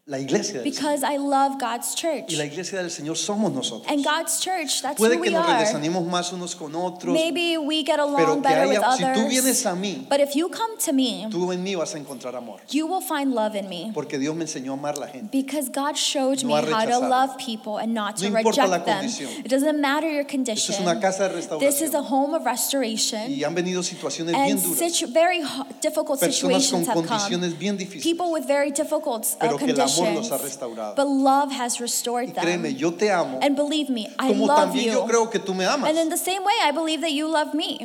B: la iglesia del Señor.
C: because I love God's church.
B: Y la iglesia del Señor somos nosotros.
C: And God's church, that's
B: Puede
C: who
B: que
C: we
B: nos
C: are.
B: desanimemos más unos con otros,
C: Maybe we get
B: pero
C: along
B: que
C: better with
B: haya, si tú
C: others.
B: vienes a mí,
C: But if you come to me,
B: tú en mí vas a encontrar amor,
C: you will find love in me.
B: porque Dios me enseñó a amar a la gente.
C: Because God showed
B: No
C: me
B: a
C: how to
B: rechazarlos.
C: love people and not to
B: No importa la
C: reject them.
B: condición.
C: It doesn't matter your
B: Esto
C: condition.
B: es una casa de
C: this is a
B: restauración
C: home of restoration.
B: y han venido situaciones bien
C: And
B: duras,
C: situ- very ho- difficult
B: personas con
C: situations have come.
B: condiciones bien difíciles.
C: People with very difficult uh,
B: Pero que el amor los ha
C: conditions.
B: restaurado.
C: But love has restored
B: Y
C: them.
B: créeme, yo te amo,
C: and believe me, I
B: como
C: love
B: también
C: you.
B: yo creo que tú me amas.
C: and in the same way, I believe that you love me.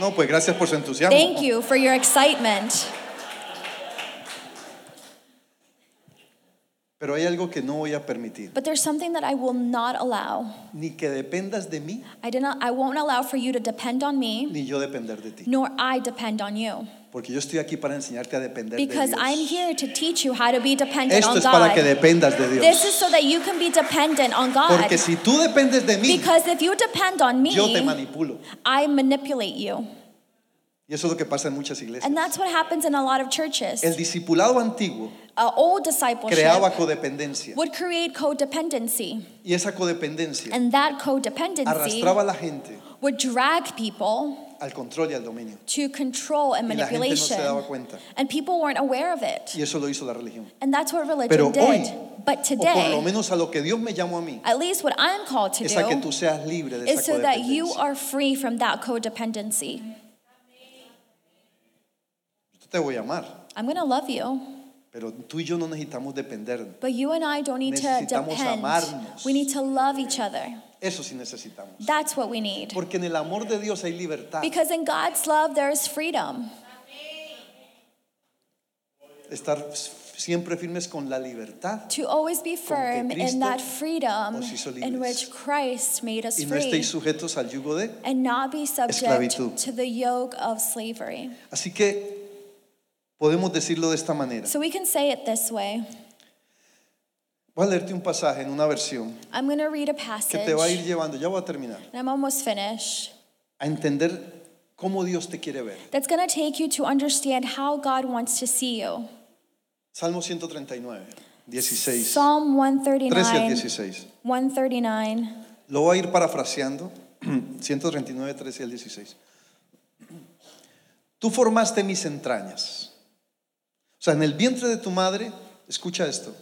B: No, pues gracias por su entusiasmo.
C: Thank you for your excitement.
B: Pero hay algo que no voy a permitir,
C: But there's something that I will not allow.
B: ni que dependas de mí,
C: I, did not, I won't allow for you to depend on me,
B: ni yo depender de ti.
C: nor I depend on you.
B: Porque yo estoy aquí para enseñarte a depender
C: Because
B: de
C: I'm
B: Dios.
C: here to teach you how to be dependent
B: Esto
C: on
B: es para que
C: God.
B: dependas de
C: This
B: Dios.
C: is so that you can be dependent on God.
B: Porque si tú dependes de mí,
C: Because if you depend on
B: yo te
C: me,
B: manipulo.
C: I manipulate you.
B: Y eso es lo que pasa en muchas iglesias.
C: And that's what happens in a lot of
B: El
C: churches.
B: discipulado antiguo
C: Uh, old discipleship
B: creaba codependencia.
C: would create codependency,
B: Y esa codependencia
C: and that codependency
B: arrastraba a la gente
C: would drag people
B: al control y al dominio.
C: to control and
B: Y la gente no se daba
C: manipulation.
B: cuenta.
C: And people weren't aware of it.
B: Y eso lo hizo la religión.
C: And that's what
B: Pero
C: religion
B: hoy,
C: did. But
B: O por lo
C: today,
B: menos a lo que Dios me llamó a mí,
C: at least what I'm called to
B: es a que
C: do
B: tú seas libre de
C: is
B: esa
C: so that you
B: codependencia.
C: are free from that codependency.
B: Yo te voy a amar,
C: I'm going to love you,
B: pero tú y yo no necesitamos depender.
C: but you and I don't need to
B: Necesitamos
C: depend.
B: amarnos.
C: We need to love each other.
B: Eso sí necesitamos.
C: That's what we need.
B: Porque en el amor de Dios hay libertad.
C: Because in God's love, there is freedom.
B: Estar siempre firmes con la libertad
C: To always be firm in that
B: Cristo
C: freedom
B: nos hizo libres.
C: in which Christ made us
B: y no estéis
C: free
B: sujetos al yugo de.
C: and not be subject
B: esclavitud.
C: to the yoke of slavery.
B: Así que podemos decirlo de esta manera.
C: So we can say it this way
B: Voy a leerte un pasaje en una versión
C: I'm going to read a
B: que te va a ir
C: passage,
B: llevando, ya voy a terminar,
C: and I'm almost finished.
B: a entender cómo Dios te quiere ver.
C: That's going to take you to understand how God wants to see you.
B: Salmo 139, 16.
C: Psalm
B: 13 al
C: 139,
B: 16.
C: 139.
B: Lo voy a ir parafraseando. 139, 13 al 16. Tú formaste mis entrañas. O sea, en el vientre de tu madre, escucha esto.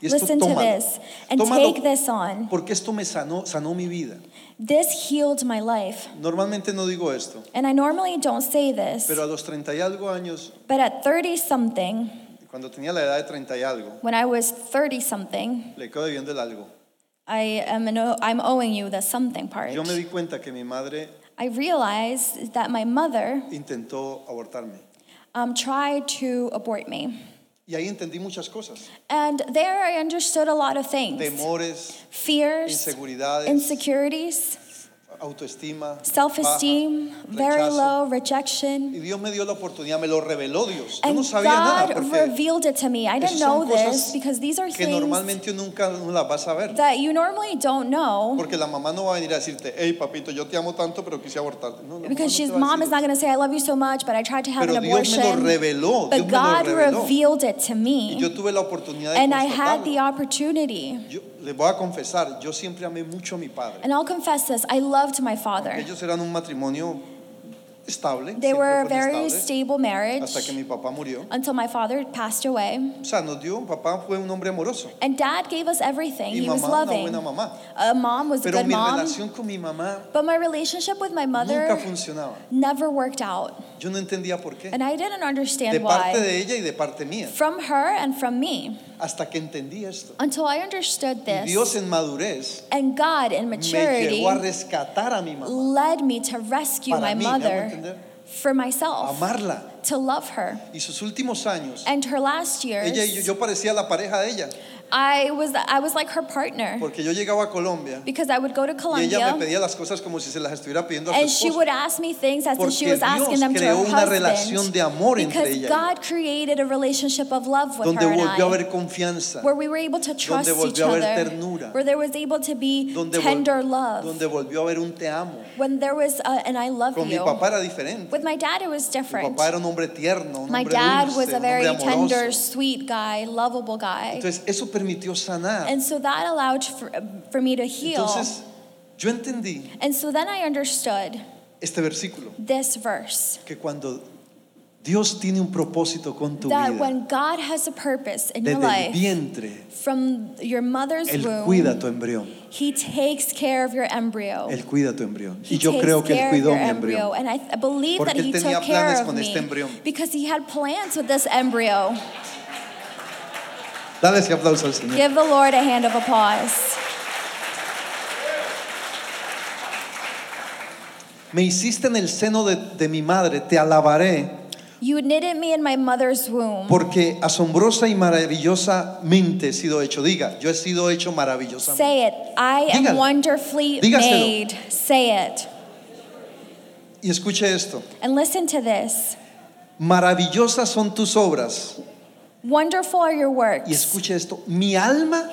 B: Y esto
C: Listen to
B: tómalo.
C: this and
B: Tómalo
C: take this on.
B: porque esto me sanó, sanó mi vida.
C: This healed my life.
B: Normalmente no digo esto,
C: And I normally don't say this,
B: pero a los 30 y algo años,
C: but at 30 something,
B: cuando tenía la edad de 30 y algo,
C: when I was 30 something,
B: le quedo debiendo el algo.
C: I am an o- I'm owing you the something part.
B: Yo me di cuenta que mi madre
C: I realized that my mother
B: intentó abortarme.
C: um, tried to abort me.
B: Y ahí entendí muchas cosas.
C: And there I understood a lot of things
B: Temores,
C: fears,
B: inseguridades,
C: insecurities,
B: autoestima,
C: self esteem,
B: baja,
C: very
B: rechazo.
C: low, rejection.
B: Y Dios me dio la oportunidad, me lo reveló Dios. Yo
C: And
B: no sabía nada
C: God
B: porque
C: revealed it to me. I didn't
B: esas son
C: know this
B: cosas
C: because these are
B: que
C: things
B: normalmente nunca no las vas a ver.
C: that you normally don't know
B: Porque la mamá no va a venir a decirte, hey papito, yo te amo tanto, pero quise abortarte. No, la mamá no
C: because
B: te
C: she's
B: va a
C: mom is
B: decir
C: not going to say I love you so much, but I tried to have
B: Pero
C: an
B: Dios me
C: abortion.
B: lo reveló, Dios
C: but
B: me lo
C: God
B: reveló.
C: revealed it to
B: eso.
C: me,
B: Y yo tuve la oportunidad de
C: and I had the
B: constatarlo.
C: opportunity.
B: Yo les voy a confesar, yo siempre amé mucho a mi padre.
C: And I'll confess this: I loved my father.
B: Ellos eran un matrimonio estable,
C: They
B: siempre
C: were a
B: fue
C: very
B: estable,
C: stable marriage
B: hasta que mi papá murió.
C: until my father passed away.
B: O sea, nos dio, papá fue un hombre amoroso
C: And dad gave us everything.
B: y
C: He was
B: mamá una
C: loving.
B: buena mamá.
C: A mom was a
B: Pero
C: good
B: mi
C: mom.
B: relación con mi mamá
C: But my relationship with my
B: nunca
C: mother
B: funcionaba.
C: never worked out.
B: Yo no entendía por qué.
C: And I didn't
B: De
C: understand
B: parte
C: why.
B: de ella y de parte mía.
C: From her and from me.
B: Hasta que entendí esto.
C: Until I understood
B: Y Dios
C: this.
B: en madurez
C: And God in
B: me
C: maturity
B: llegó a rescatar a mi mamá.
C: led me to rescue
B: Para
C: my
B: mí, ¿me hago
C: mother
B: entender?
C: for myself,
B: Amarla.
C: to love her.
B: Y sus últimos años,
C: And her last
B: ella y yo,
C: years,
B: yo parecía la pareja de ella.
C: I was I was like her partner
B: Porque yo llegaba a Colombia
C: because I would go to
B: y ella me
C: Colombia
B: pedía las cosas como si se las estuviera pidiendo a su
C: and she
B: esposo.
C: would ask me things as if
B: Porque
C: she was asking
B: Dios
C: them to her
B: creó una relación
C: husband
B: de amor entre
C: because
B: ella y yo.
C: God created a relationship of love with
B: Donde
C: her and
B: volvió a
C: I.
B: haber confianza.
C: where we were able to trust each
B: volvió a
C: other,
B: haber ternura.
C: where there was able to be
B: Donde, vol-
C: tender love,
B: donde volvió a haber un te amo.
C: when there was a, an I love
B: Con mi
C: you.
B: papá era diferente.
C: With my dad, it was
B: Mi
C: different.
B: papá era un hombre tierno, un
C: My
B: hombre
C: dad
B: dulce,
C: was a
B: un hombre
C: very
B: amoroso.
C: tender, sweet guy, lovable guy.
B: Entonces, eso permitió sanar.
C: And so that allowed for, for me to heal.
B: Entonces, yo entendí
C: and so then I understood
B: este versículo,
C: this verse
B: que cuando Dios tiene un propósito con tu
C: that
B: vida,
C: when God has a purpose in your
B: desde el
C: life,
B: vientre,
C: from your mother's
B: Él
C: womb,
B: cuida tu embrión.
C: He takes care of your embryo.
B: Él cuida tu embrión.
C: oh, He
B: Y yo
C: takes
B: creo que
C: care
B: Él
C: of
B: cuidó
C: your
B: mi
C: embryo,
B: embrión.
C: And I th- believe
B: Porque
C: that
B: él
C: he
B: tenía
C: took care
B: planes
C: of
B: con
C: me
B: este embrión.
C: because he had plans with this embryo.
B: Dale ese aplauso al Señor.
C: Give the Lord a hand of applause.
B: Me hiciste en el seno de, de mi madre, te alabaré,
C: You knitted me in my mother's womb
B: porque asombrosa y maravillosamente he sido hecho. Diga, yo he sido hecho maravillosamente.
C: Say it. I am
B: Dígalo.
C: wonderfully
B: Dígaselo.
C: made. Say it.
B: Y escuche esto,
C: And listen to this.
B: maravillosas son tus obras.
C: Wonderful are your
B: Y
C: works.
B: escuche esto, mi alma,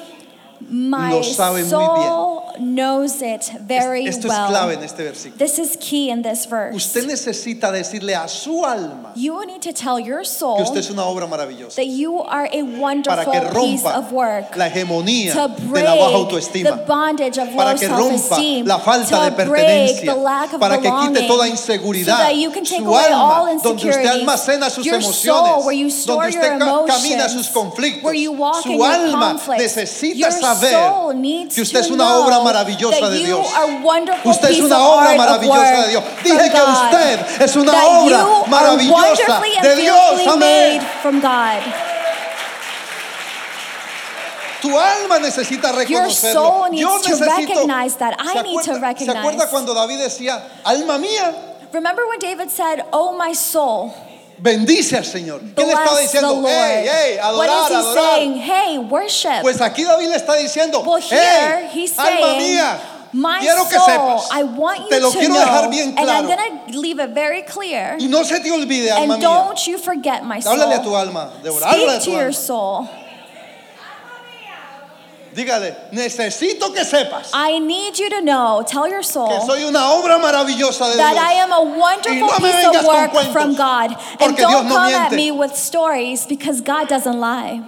C: My
B: lo sabe muy
C: soul knows it very
B: esto es clave
C: well.
B: en este versículo.
C: This is key in this verse.
B: Usted necesita decirle a su alma
C: You need to tell your
B: que usted
C: soul
B: es una obra maravillosa
C: that you are a
B: para
C: wonderful
B: que
C: piece of
B: rompa
C: work.
B: la hegemonía
C: To
B: de
C: break
B: la baja
C: the
B: autoestima.
C: bondage of
B: para
C: low
B: que rompa
C: self-esteem,
B: la falta
C: to
B: de
C: break the
B: pertenencia,
C: lack of
B: para que
C: belonging,
B: quite toda
C: so
B: inseguridad,
C: that you can take
B: su
C: away all
B: alma, donde usted
C: insecurities,
B: almacena sus
C: your
B: emociones,
C: soul, where you store
B: donde usted
C: your
B: ca- camina
C: emotions,
B: sus conflictos,
C: where you walk
B: su
C: in your
B: alma
C: conflicts.
B: necesita
C: Your soul
B: saber
C: needs
B: que usted
C: to
B: es una
C: know
B: obra maravillosa
C: that
B: de
C: you
B: Dios.
C: are a wonderful
B: Usted es
C: piece
B: una
C: of
B: obra
C: art of
B: maravillosa
C: work
B: de Dios.
C: from
B: Dije que
C: God.
B: usted es una
C: That
B: obra
C: you are
B: maravillosa
C: wonderfully and
B: de Dios.
C: fearfully
B: Amén.
C: made from God.
B: Tu alma necesita
C: Your
B: reconocerlo.
C: soul needs
B: Yo
C: to
B: necesito.
C: recognize that. I
B: ¿Se
C: need to
B: acuerda- ¿Se
C: recognize?
B: acuerda cuando David decía, alma mía,
C: Remember when David said, "Oh my soul,
B: bendice al Señor? ¿Qué le estaba
C: bless the
B: diciendo?
C: Lord."
B: Hey, hey,
C: what
B: adorar,
C: is he
B: adorar.
C: saying? Hey, worship.
B: Pues aquí David le está diciendo,
C: well, here
B: hey,
C: he's
B: alma
C: saying,
B: mía,
C: "My
B: quiero que
C: soul,
B: sepas.
C: I want you
B: Te lo
C: to
B: quiero
C: know,
B: dejar bien
C: and I'm
B: claro.
C: going to leave it very clear.
B: y no se te olvide, alma mía.
C: and don't you forget my soul.
B: Háblale a tu alma, Débora, háblale a
C: Speak to
B: tu
C: your
B: alma.
C: soul.
B: Dígale, necesito que sepas
C: I need you to know. Tell your soul."
B: que soy una obra maravillosa de
C: that
B: Dios.
C: I am a wonderful
B: Y no me
C: piece
B: vengas
C: of
B: con
C: work
B: cuentos,
C: from God.
B: porque
C: And
B: Dios
C: don't
B: no
C: come
B: miente.
C: at me with stories because God doesn't lie.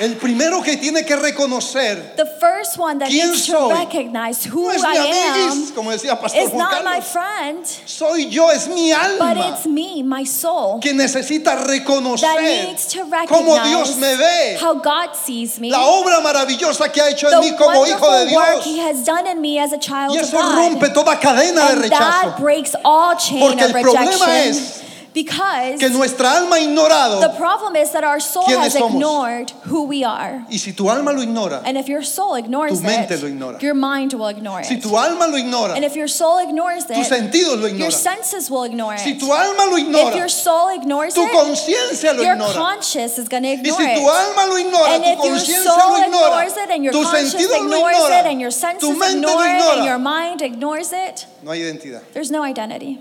B: El primero que tiene que reconocer
C: The first one that
B: ¿Quién
C: needs
B: soy?
C: to recognize who
B: no es
C: I
B: mi
C: am
B: amiguis, como decía Pastor
C: is
B: Juan
C: not my
B: Carlos.
C: friend,
B: Soy yo, es mi
C: but
B: alma
C: it's me, my soul,
B: que necesita
C: that
B: reconocer
C: needs to
B: cómo Dios me ve,
C: recognize how God sees me,
B: la obra maravillosa que ha hecho en
C: the
B: mí como hijo de
C: wonderful work He
B: Dios.
C: has done in me as a child
B: Y
C: of
B: eso
C: God.
B: rompe toda cadena de
C: And that
B: rechazo.
C: breaks all chain
B: Porque el
C: of
B: problema
C: rejection
B: es
C: because
B: Que nuestra alma ha
C: The
B: ignorado.
C: problem is that our soul
B: ¿Quiénes
C: has
B: somos?
C: ignored who we are.
B: Y si tu alma lo ignora,
C: And if your soul ignores
B: Tu mente
C: it,
B: lo ignora.
C: your mind will ignore
B: si
C: it.
B: tu alma lo ignora,
C: and if your soul ignores
B: tus
C: it,
B: sentidos lo
C: your
B: ignoran.
C: senses will ignore
B: Si
C: it.
B: tu alma lo
C: if
B: ignora,
C: your soul ignores
B: tu
C: it,
B: conciencia lo
C: your
B: ignora.
C: conscience is going to
B: Y
C: ignore
B: si tu
C: it.
B: alma lo ignora,
C: And
B: tu
C: if your
B: conciencia lo
C: soul
B: ignora,
C: ignores it, and your
B: tus
C: conscience
B: sentidos lo
C: ignores it, and
B: ignoran,
C: your senses
B: tu mente
C: ignore
B: lo
C: it, and your
B: ignora.
C: mind ignores it,
B: No hay identidad.
C: there's no identity.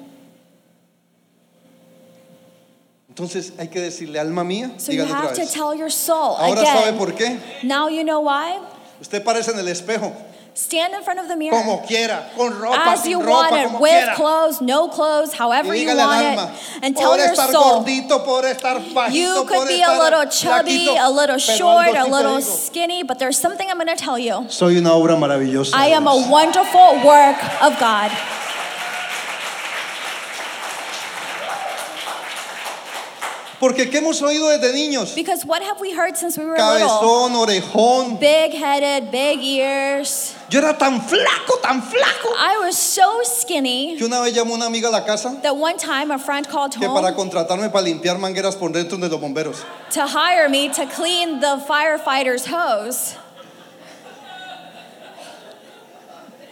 B: Entonces hay que decirle, alma mía,
C: So you
B: dígalo
C: have
B: otra
C: to
B: vez.
C: tell your soul
B: Ahora
C: again.
B: sabe por qué.
C: Now you know why.
B: Usted parece en el espejo,
C: Stand in front of the mirror.
B: como quiera, con ropa,
C: as you
B: sin
C: want
B: ropa,
C: it,
B: como
C: with
B: quiera.
C: clothes, no clothes,
B: Y
C: however you
B: dígale al
C: want
B: alma,
C: it, and tell
B: podré
C: your
B: estar
C: soul.
B: gordito, podré estar bajito,
C: You could
B: podré
C: be a
B: estar
C: little chubby,
B: flaquito,
C: a little
B: pero
C: short,
B: algo
C: a
B: sí te
C: little
B: digo,
C: skinny, but there's something I'm going to tell you.
B: Soy una obra maravillosa.
C: I
B: de
C: am
B: Dios.
C: a wonderful work of God.
B: Porque ¿qué hemos oído desde niños?
C: Because what have we heard since we were little?
B: Cabezón, orejón.
C: Big headed, big ears.
B: Yo era tan flaco, tan flaco.
C: I was so skinny
B: Que una vez llamó una amiga a la casa
C: that one time a friend called
B: que para
C: home
B: contratarme para limpiar mangueras por dentro de los bomberos.
C: to hire me to clean the firefighter's hose.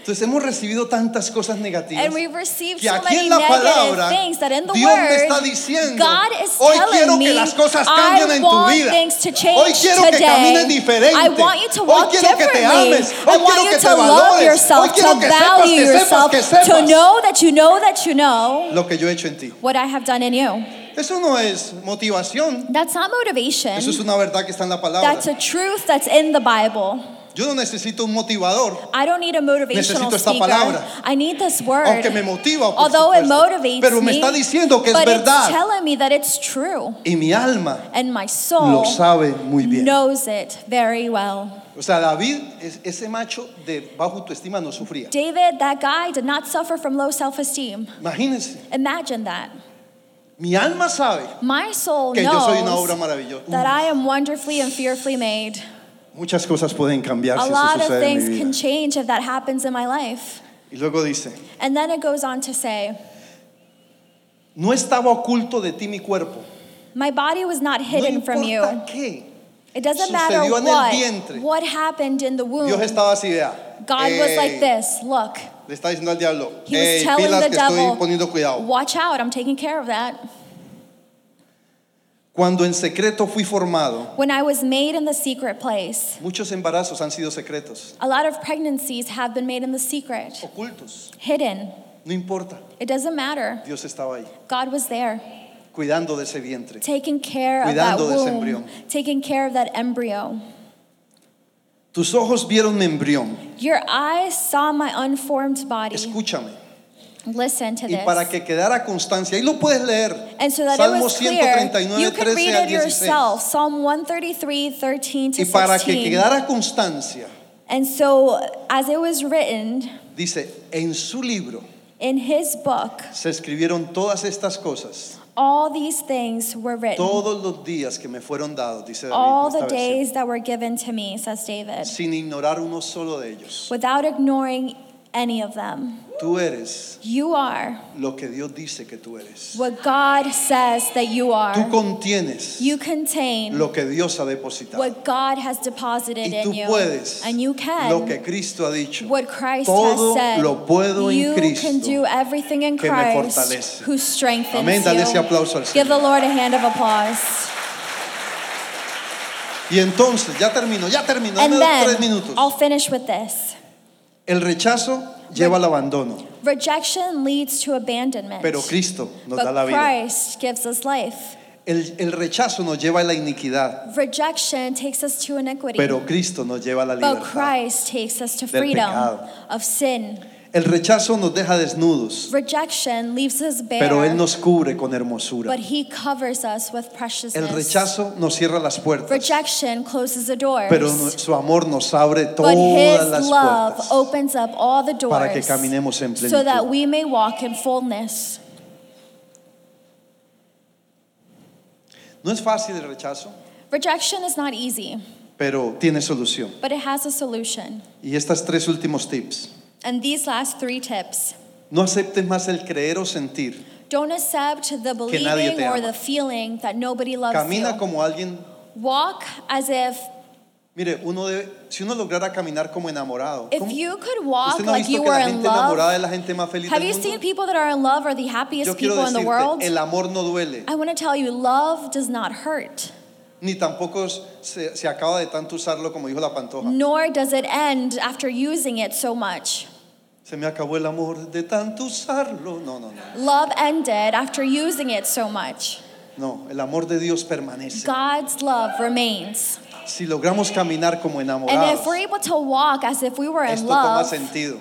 B: Entonces hemos recibido tantas cosas negativas.
C: And we've received
B: que
C: so
B: aquí
C: many
B: en la
C: negative
B: palabra
C: things that in the
B: Dios me está
C: word
B: diciendo
C: God is
B: hoy quiero
C: telling
B: que
C: me
B: las cosas cambien
C: I
B: en tu
C: want
B: vida
C: things to
B: hoy
C: change
B: quiero que camines
C: today.
B: diferente
C: I want you to
B: hoy
C: walk
B: quiero que te
C: differently.
B: ames
C: I
B: hoy quiero
C: want
B: que
C: you
B: te
C: to love
B: valores hoy
C: yourself,
B: quiero
C: to
B: que sepas
C: value
B: que sepas
C: yourself,
B: que
C: to
B: sepas
C: know that you know that you know
B: lo que yo he hecho en ti
C: what I have done in you.
B: eso no es motivación
C: That's not
B: eso es
C: motivation.
B: una verdad que está en la palabra
C: That's a truth that's in the Bible.
B: yo no necesito un motivador
C: I don't need a motivational
B: Necesito esta
C: speaker.
B: palabra.
C: I need this word.
B: aunque me motiva por
C: Although it
B: supuesto.
C: motivates
B: pero me
C: me,
B: está diciendo que es
C: but it's
B: verdad
C: telling me that it's true.
B: y mi alma
C: And my
B: lo
C: soul
B: sabe muy bien
C: knows it very well.
B: o sea David es- ese macho de bajo autoestima no sufría
C: David, that guy, did not suffer from low self esteem.
B: imagínense
C: Imagine that.
B: mi alma sabe
C: My soul
B: que yo
C: Oh, knows
B: soy una obra maravillosa
C: that I am wonderfully and fearfully made.
B: Muchas cosas pueden cambiar
C: A
B: si eso
C: lot of
B: sucede en
C: things
B: mi vida.
C: can change if that happens in my life.
B: Y luego dice,
C: And then it goes on to say,
B: no estaba oculto de ti mi cuerpo.
C: My body was not
B: No
C: hidden from you.
B: importa qué.
C: It doesn't matter
B: Sucedió en el
C: what,
B: vientre.
C: what happened in the womb.
B: Dios estaba así, vea.
C: God was
B: "Ey",
C: like this Look,
B: Le está diciendo al diablo,
C: He was
B: "Ey,
C: telling
B: pilas
C: the
B: que estoy
C: devil,
B: poniendo cuidado.
C: watch out, I'm taking care of that.
B: Cuando en secreto fui formado,
C: When I was made in the secret place,
B: muchos embarazos han sido secretos,
C: a lot of pregnancies have been made in the secret,
B: ocultos.
C: hidden.
B: No importa,
C: It doesn't matter.
B: Dios estaba ahí,
C: God was there,
B: cuidando de ese vientre.
C: taking care of that
B: Cuidando de ese
C: womb,
B: embrión.
C: taking care of that embryo.
B: Tus ojos vieron mi embrión.
C: Your eyes saw my unformed body.
B: Escúchame.
C: Listen to
B: Y para
C: this.
B: que quedara constancia, ahí lo puedes leer.
C: And so that it
B: Salmo
C: was clear,
B: 139,
C: you could
B: 13
C: read
B: al
C: it
B: 16.
C: yourself. Psalm 133, 13
B: Y
C: to
B: para que
C: 16.
B: quedara constancia,
C: And so, as it was written
B: dice, en su libro
C: in his book,
B: se escribieron todas estas cosas,
C: all these things were written.
B: todos los días que me fueron dados, dice David. en
C: All
B: esta
C: the
B: versión,
C: days that were given to me, says David,
B: sin ignorar uno solo de ellos.
C: without ignoring any of them.
B: Tú eres
C: You are
B: lo que Dios dice que tú eres.
C: what God says that you
B: Tú
C: are.
B: contienes
C: You contain
B: lo que Dios ha depositado.
C: what God has deposited
B: Y tú
C: in you.
B: puedes
C: And you
B: lo
C: can.
B: que Cristo ha dicho.
C: What Christ
B: Todo
C: has said.
B: lo puedo en
C: you can
B: Cristo
C: do everything in
B: que me
C: Christ
B: fortalece.
C: who strengthens
B: Amén. Dale
C: you.
B: ese aplauso al
C: Give the
B: Señor.
C: Lord a hand of applause.
B: Y entonces, ya termino, ya termino, dame
C: And
B: dos, tres
C: then
B: minutos.
C: I'll finish with this.
B: El rechazo lleva al abandono,
C: Rejection leads to abandonment.
B: pero Cristo nos da la
C: but
B: vida.
C: Christ gives us life.
B: El, el rechazo nos lleva a la iniquidad,
C: Rejection takes us to iniquity.
B: pero Cristo nos lleva a la
C: but
B: libertad.
C: Christ takes us to
B: del
C: freedom
B: pecado.
C: of sin.
B: El rechazo nos deja desnudos,
C: Rejection leaves us bare.
B: pero Él nos cubre con hermosura.
C: but he covers us with
B: El
C: preciousness.
B: rechazo nos cierra las puertas,
C: Rejection closes the doors.
B: pero no- su amor nos abre
C: but
B: todas
C: his
B: las
C: love
B: puertas.
C: opens up all the doors
B: para que caminemos en
C: so that
B: plenitud.
C: we may walk in fullness.
B: No es fácil el rechazo,
C: Rejection is not easy,
B: pero tiene solución.
C: but it has a solution.
B: Y estas tres últimos tips.
C: And these last three tips
B: No aceptes más el creer o sentir.
C: don't accept the
B: Que nadie
C: believing
B: te
C: or
B: ama.
C: the feeling that nobody loves
B: Camina
C: you.
B: como alguien
C: Walk as if
B: Mire, uno debe, si uno lograra caminar como enamorado,
C: if
B: ¿cómo?
C: you could walk
B: ¿usted no ha
C: like
B: visto
C: you
B: que
C: were
B: la
C: in
B: gente enamorada
C: love.
B: es la gente más feliz
C: Have
B: del
C: you
B: mundo?
C: seen people that are in love are the happiest
B: Yo quiero
C: people in the world?
B: decirte, el amor no duele,
C: I want to tell you, love does not hurt,
B: ni tampoco se, se acaba de tanto usarlo como dijo la pantoja.
C: nor does it end after using it so much.
B: Se me acabó el amor de tanto usarlo. No, no, no.
C: Love ended after using it so much.
B: No, el amor de Dios permanece.
C: God's love remains.
B: Si logramos caminar como
C: And
B: enamorados,
C: if we're able to walk as if we were in
B: esto toma
C: love,
B: sentido.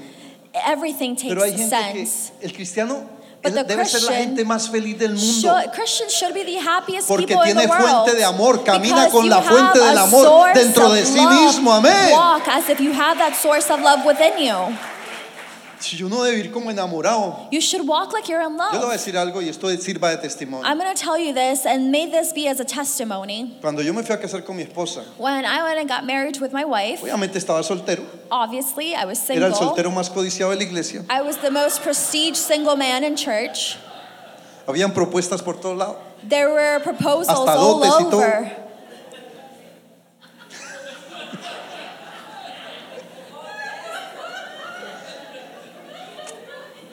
C: everything takes
B: Pero hay gente
C: sense.
B: que el cristiano
C: But
B: es-
C: the
B: debe ser la
C: Christian
B: gente más feliz del mundo.
C: Should, Christians should be the happiest
B: Porque
C: people in the
B: tiene
C: world.
B: fuente de amor, camina
C: because
B: con
C: you
B: la fuente
C: have
B: del
C: a
B: amor
C: source
B: dentro
C: of
B: de sí
C: love.
B: mismo. Amén.
C: Walk as if you have that source of love within you.
B: Si uno debe ir como enamorado,
C: You should walk like you're in
B: yo le voy a
C: love.
B: decir algo y esto sirva de testimonio.
C: I'm going to tell you this, and may this be as a testimony.
B: Cuando yo me fui a casar con mi esposa,
C: When I went and got married with my wife,
B: obviamente estaba soltero.
C: obviously I was
B: Era el
C: single.
B: soltero más codiciado de la iglesia.
C: I was the most prestige single man in church.
B: Habían propuestas por todos lados.
C: There were proposals
B: Hasta
C: all
B: dotes y todo.
C: over.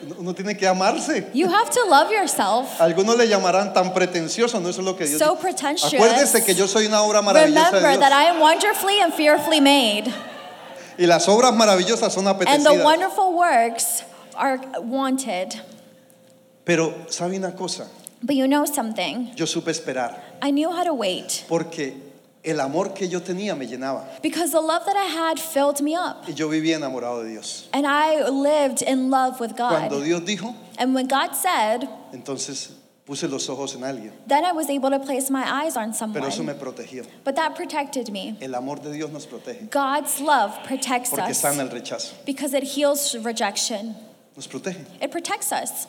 B: Uno- Uno tiene que amarse.
C: You have to love yourself.
B: Algunos le llamarán tan pretencioso, no eso es lo que Dios
C: So
B: dice.
C: pretentious.
B: Acuérdese que yo soy una obra maravillosa de
C: Remember
B: Dios.
C: that I am wonderfully and fearfully made,
B: Y las obras maravillosas son
C: and the
B: apetecidas.
C: wonderful works are wanted.
B: Pero sabe una cosa,
C: But you know something?
B: yo supe esperar
C: I knew how to wait
B: porque el amor que yo tenía me llenaba
C: because the love that I had filled me up,
B: y yo vivía enamorado de Dios.
C: and I lived in love with
B: Cuando
C: God.
B: Dios dijo,
C: And when God said,
B: entonces puse los ojos en alguien,
C: then I was able to place my eyes on
B: pero eso me
C: someone.
B: protegió.
C: But that protected me.
B: El amor de Dios nos protege
C: God's love protects
B: porque
C: us
B: sana el rechazo.
C: because it heals rejection.
B: Nos protege.
C: It protects us.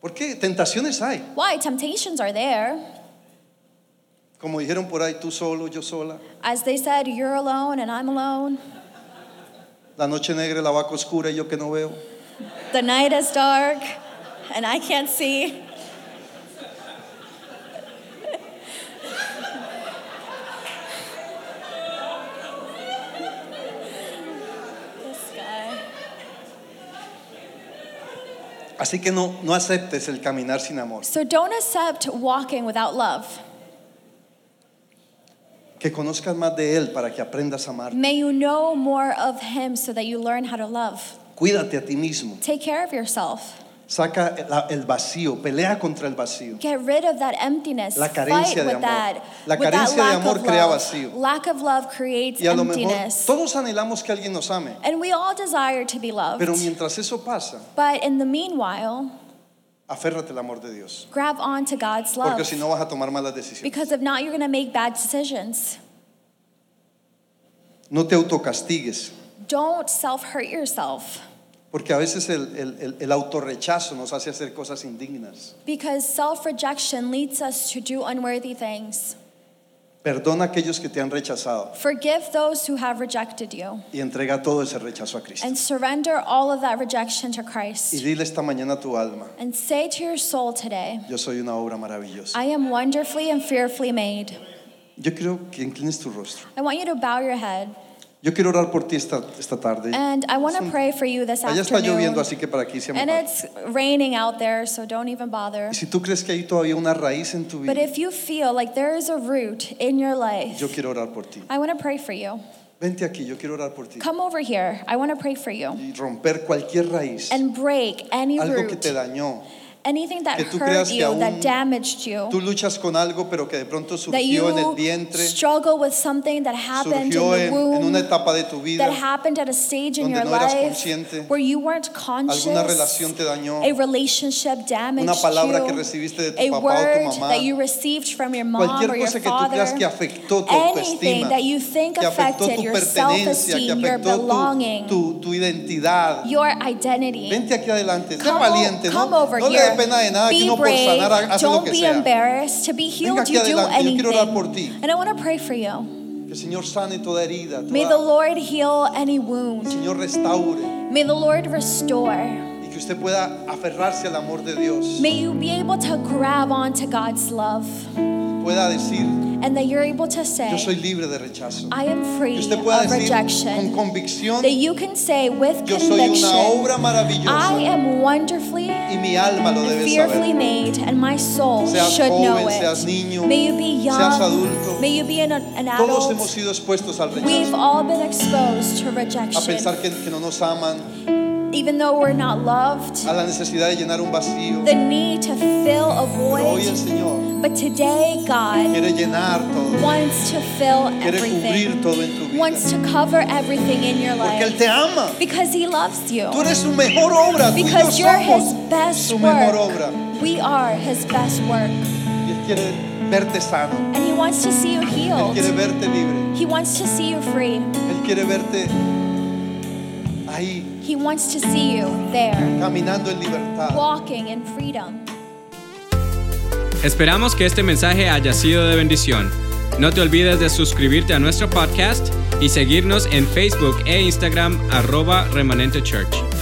B: ¿Por qué? Tentaciones hay.
C: Why? Temptations are there.
B: Como dijeron por ahí, tú solo, yo sola.
C: As they said, you're alone and I'm alone.
B: La noche negra, la vaca oscura y yo que no veo.
C: The night is dark and I can't see. This guy.
B: Así que no, no aceptes el caminar sin amor.
C: So don't accept walking without love.
B: que conozcas más de Él para que aprendas a amar.
C: May you know more of Him so that you learn how to love.
B: Cuídate a ti mismo.
C: Take care of yourself.
B: Saca el- el vacío, pelea contra el vacío.
C: Get rid of that emptiness.
B: La
C: Fight
B: carencia de
C: with
B: amor.
C: that.
B: La
C: with
B: carencia
C: that
B: de
C: lack
B: amor
C: of
B: crea
C: love.
B: vacío.
C: Lack of love creates
B: Y a lo mejor
C: emptiness.
B: todos anhelamos que alguien nos ame,
C: and we all desire to be loved.
B: pero mientras eso pasa,
C: but in the meanwhile,
B: aférrate al amor de Dios,
C: grab on to God's love.
B: porque si no vas a tomar malas decisiones.
C: because if not, you're going to make bad decisions.
B: No te autocastigues,
C: Don't self hurt yourself.
B: porque a veces el, el- el- el autorrechazo nos hace hacer cosas indignas.
C: Because self rejection leads us to do unworthy things.
B: Perdona a aquellos que te han rechazado
C: Forgive those who have rejected you
B: y entrega todo ese rechazo a Cristo.
C: and surrender all of that rejection to
B: Y
C: Christ.
B: dile esta mañana a tu alma,
C: And say to your soul today,
B: yo soy una obra maravillosa.
C: I am wonderfully and fearfully made.
B: Yo quiero que inclines tu rostro.
C: I want you to bow your head.
B: Yo quiero orar por ti esta, esta tarde.
C: And I want to pray for you this
B: Allá está lloviendo,
C: afternoon.
B: así que para aquí se
C: And
B: amor.
C: it's raining out there, so don't even bother.
B: Y si tú crees que hay todavía una raíz en tu vida,
C: But if you feel like there is a root in your
B: Yo
C: life,
B: quiero orar por ti.
C: I want to pray for you.
B: Vente aquí, yo quiero orar por ti.
C: Come over here. I want to pray for you.
B: Y romper cualquier raíz.
C: And break any
B: Algo que
C: root,
B: te dañó.
C: anything that
B: que tú creas
C: hurt
B: que
C: you,
B: aún
C: that damaged you.
B: Tú luchas con algo, pero que de pronto
C: that
B: surgió en el
C: you
B: vientre,
C: struggle with something that happened in
B: surgió
C: the
B: en, en una
C: womb,
B: etapa de tu vida.
C: that happened at a stage in
B: donde
C: your
B: no eras
C: life
B: consciente.
C: where you weren't conscious.
B: Alguna relación te dañó.
C: a relationship damaged
B: Una palabra
C: you.
B: que recibiste de tu
C: a
B: papá o tu
C: word
B: mamá.
C: that you received from your mom
B: Cualquier
C: or your
B: cosa que tú
C: father.
B: creas que afectó tu
C: Anything
B: autoestima,
C: that you think
B: que afectó
C: affected
B: tu
C: your
B: pertenencia, que
C: self-esteem, your
B: afectó tu,
C: belonging,
B: tu, tu identidad.
C: your identity.
B: Vente aquí adelante, sea
C: Come,
B: valiente, no,
C: come over
B: no le
C: here.
B: dé pena de nada
C: be
B: que uno por
C: brave.
B: sanar ha- hace lo
C: Don't
B: que
C: be
B: sea.
C: embarrassed. To be healed,
B: aquí
C: you do
B: adelante, yo
C: anything.
B: quiero orar por ti.
C: And I want to pray for you.
B: Que el Señor sane toda herida,
C: May the
B: toda,
C: Lord heal any
B: que el
C: wound.
B: Señor restaure.
C: May the Lord restore.
B: y que usted pueda aferrarse al amor de Dios,
C: May you be able to grab onto God's love
B: pueda decir,
C: and that you're able to
B: yo soy
C: say,
B: libre de rechazo.
C: I am free
B: Que usted pueda
C: of
B: decir con
C: rejection.
B: convicción,
C: That you can say with
B: yo soy una obra
C: conviction, I
B: maravillosa
C: am wonderfully
B: y mi alma lo
C: and
B: debe
C: fearfully
B: saber.
C: made, and my soul
B: Seas
C: should know
B: joven,
C: it.
B: seas niño,
C: May you be young.
B: seas adulto.
C: May you be an, an
B: Todos hemos
C: adult.
B: sido expuestos al
C: We've
B: rechazo,
C: all been exposed to
B: a pensar
C: rejection,
B: que, que no nos aman,
C: even though we're not loved.
B: a la necesidad de llenar un vacío.
C: The need to fill a
B: Pero hoy el
C: void,
B: Señor
C: but today God
B: quiere llenar todo,
C: wants to fill
B: quiere cubrir
C: everything,
B: todo en tu vida,
C: wants to cover everything in your
B: porque Él
C: life
B: te ama.
C: because He loves you.
B: Tú eres su mejor obra, tú y yo
C: Because you're His
B: somos
C: best
B: su mejor
C: work.
B: obra.
C: We are His best work,
B: Y Él quiere verte sano,
C: and He wants to see you
B: Él
C: healed.
B: quiere verte libre.
C: He wants to see you free.
B: Él quiere verte ahí,
C: He wants to see you there,
B: caminando en libertad.
C: walking in freedom.
A: Esperamos que este mensaje haya sido de bendición. No te olvides de suscribirte a nuestro podcast y seguirnos en Facebook e Instagram arroba Remanente Church.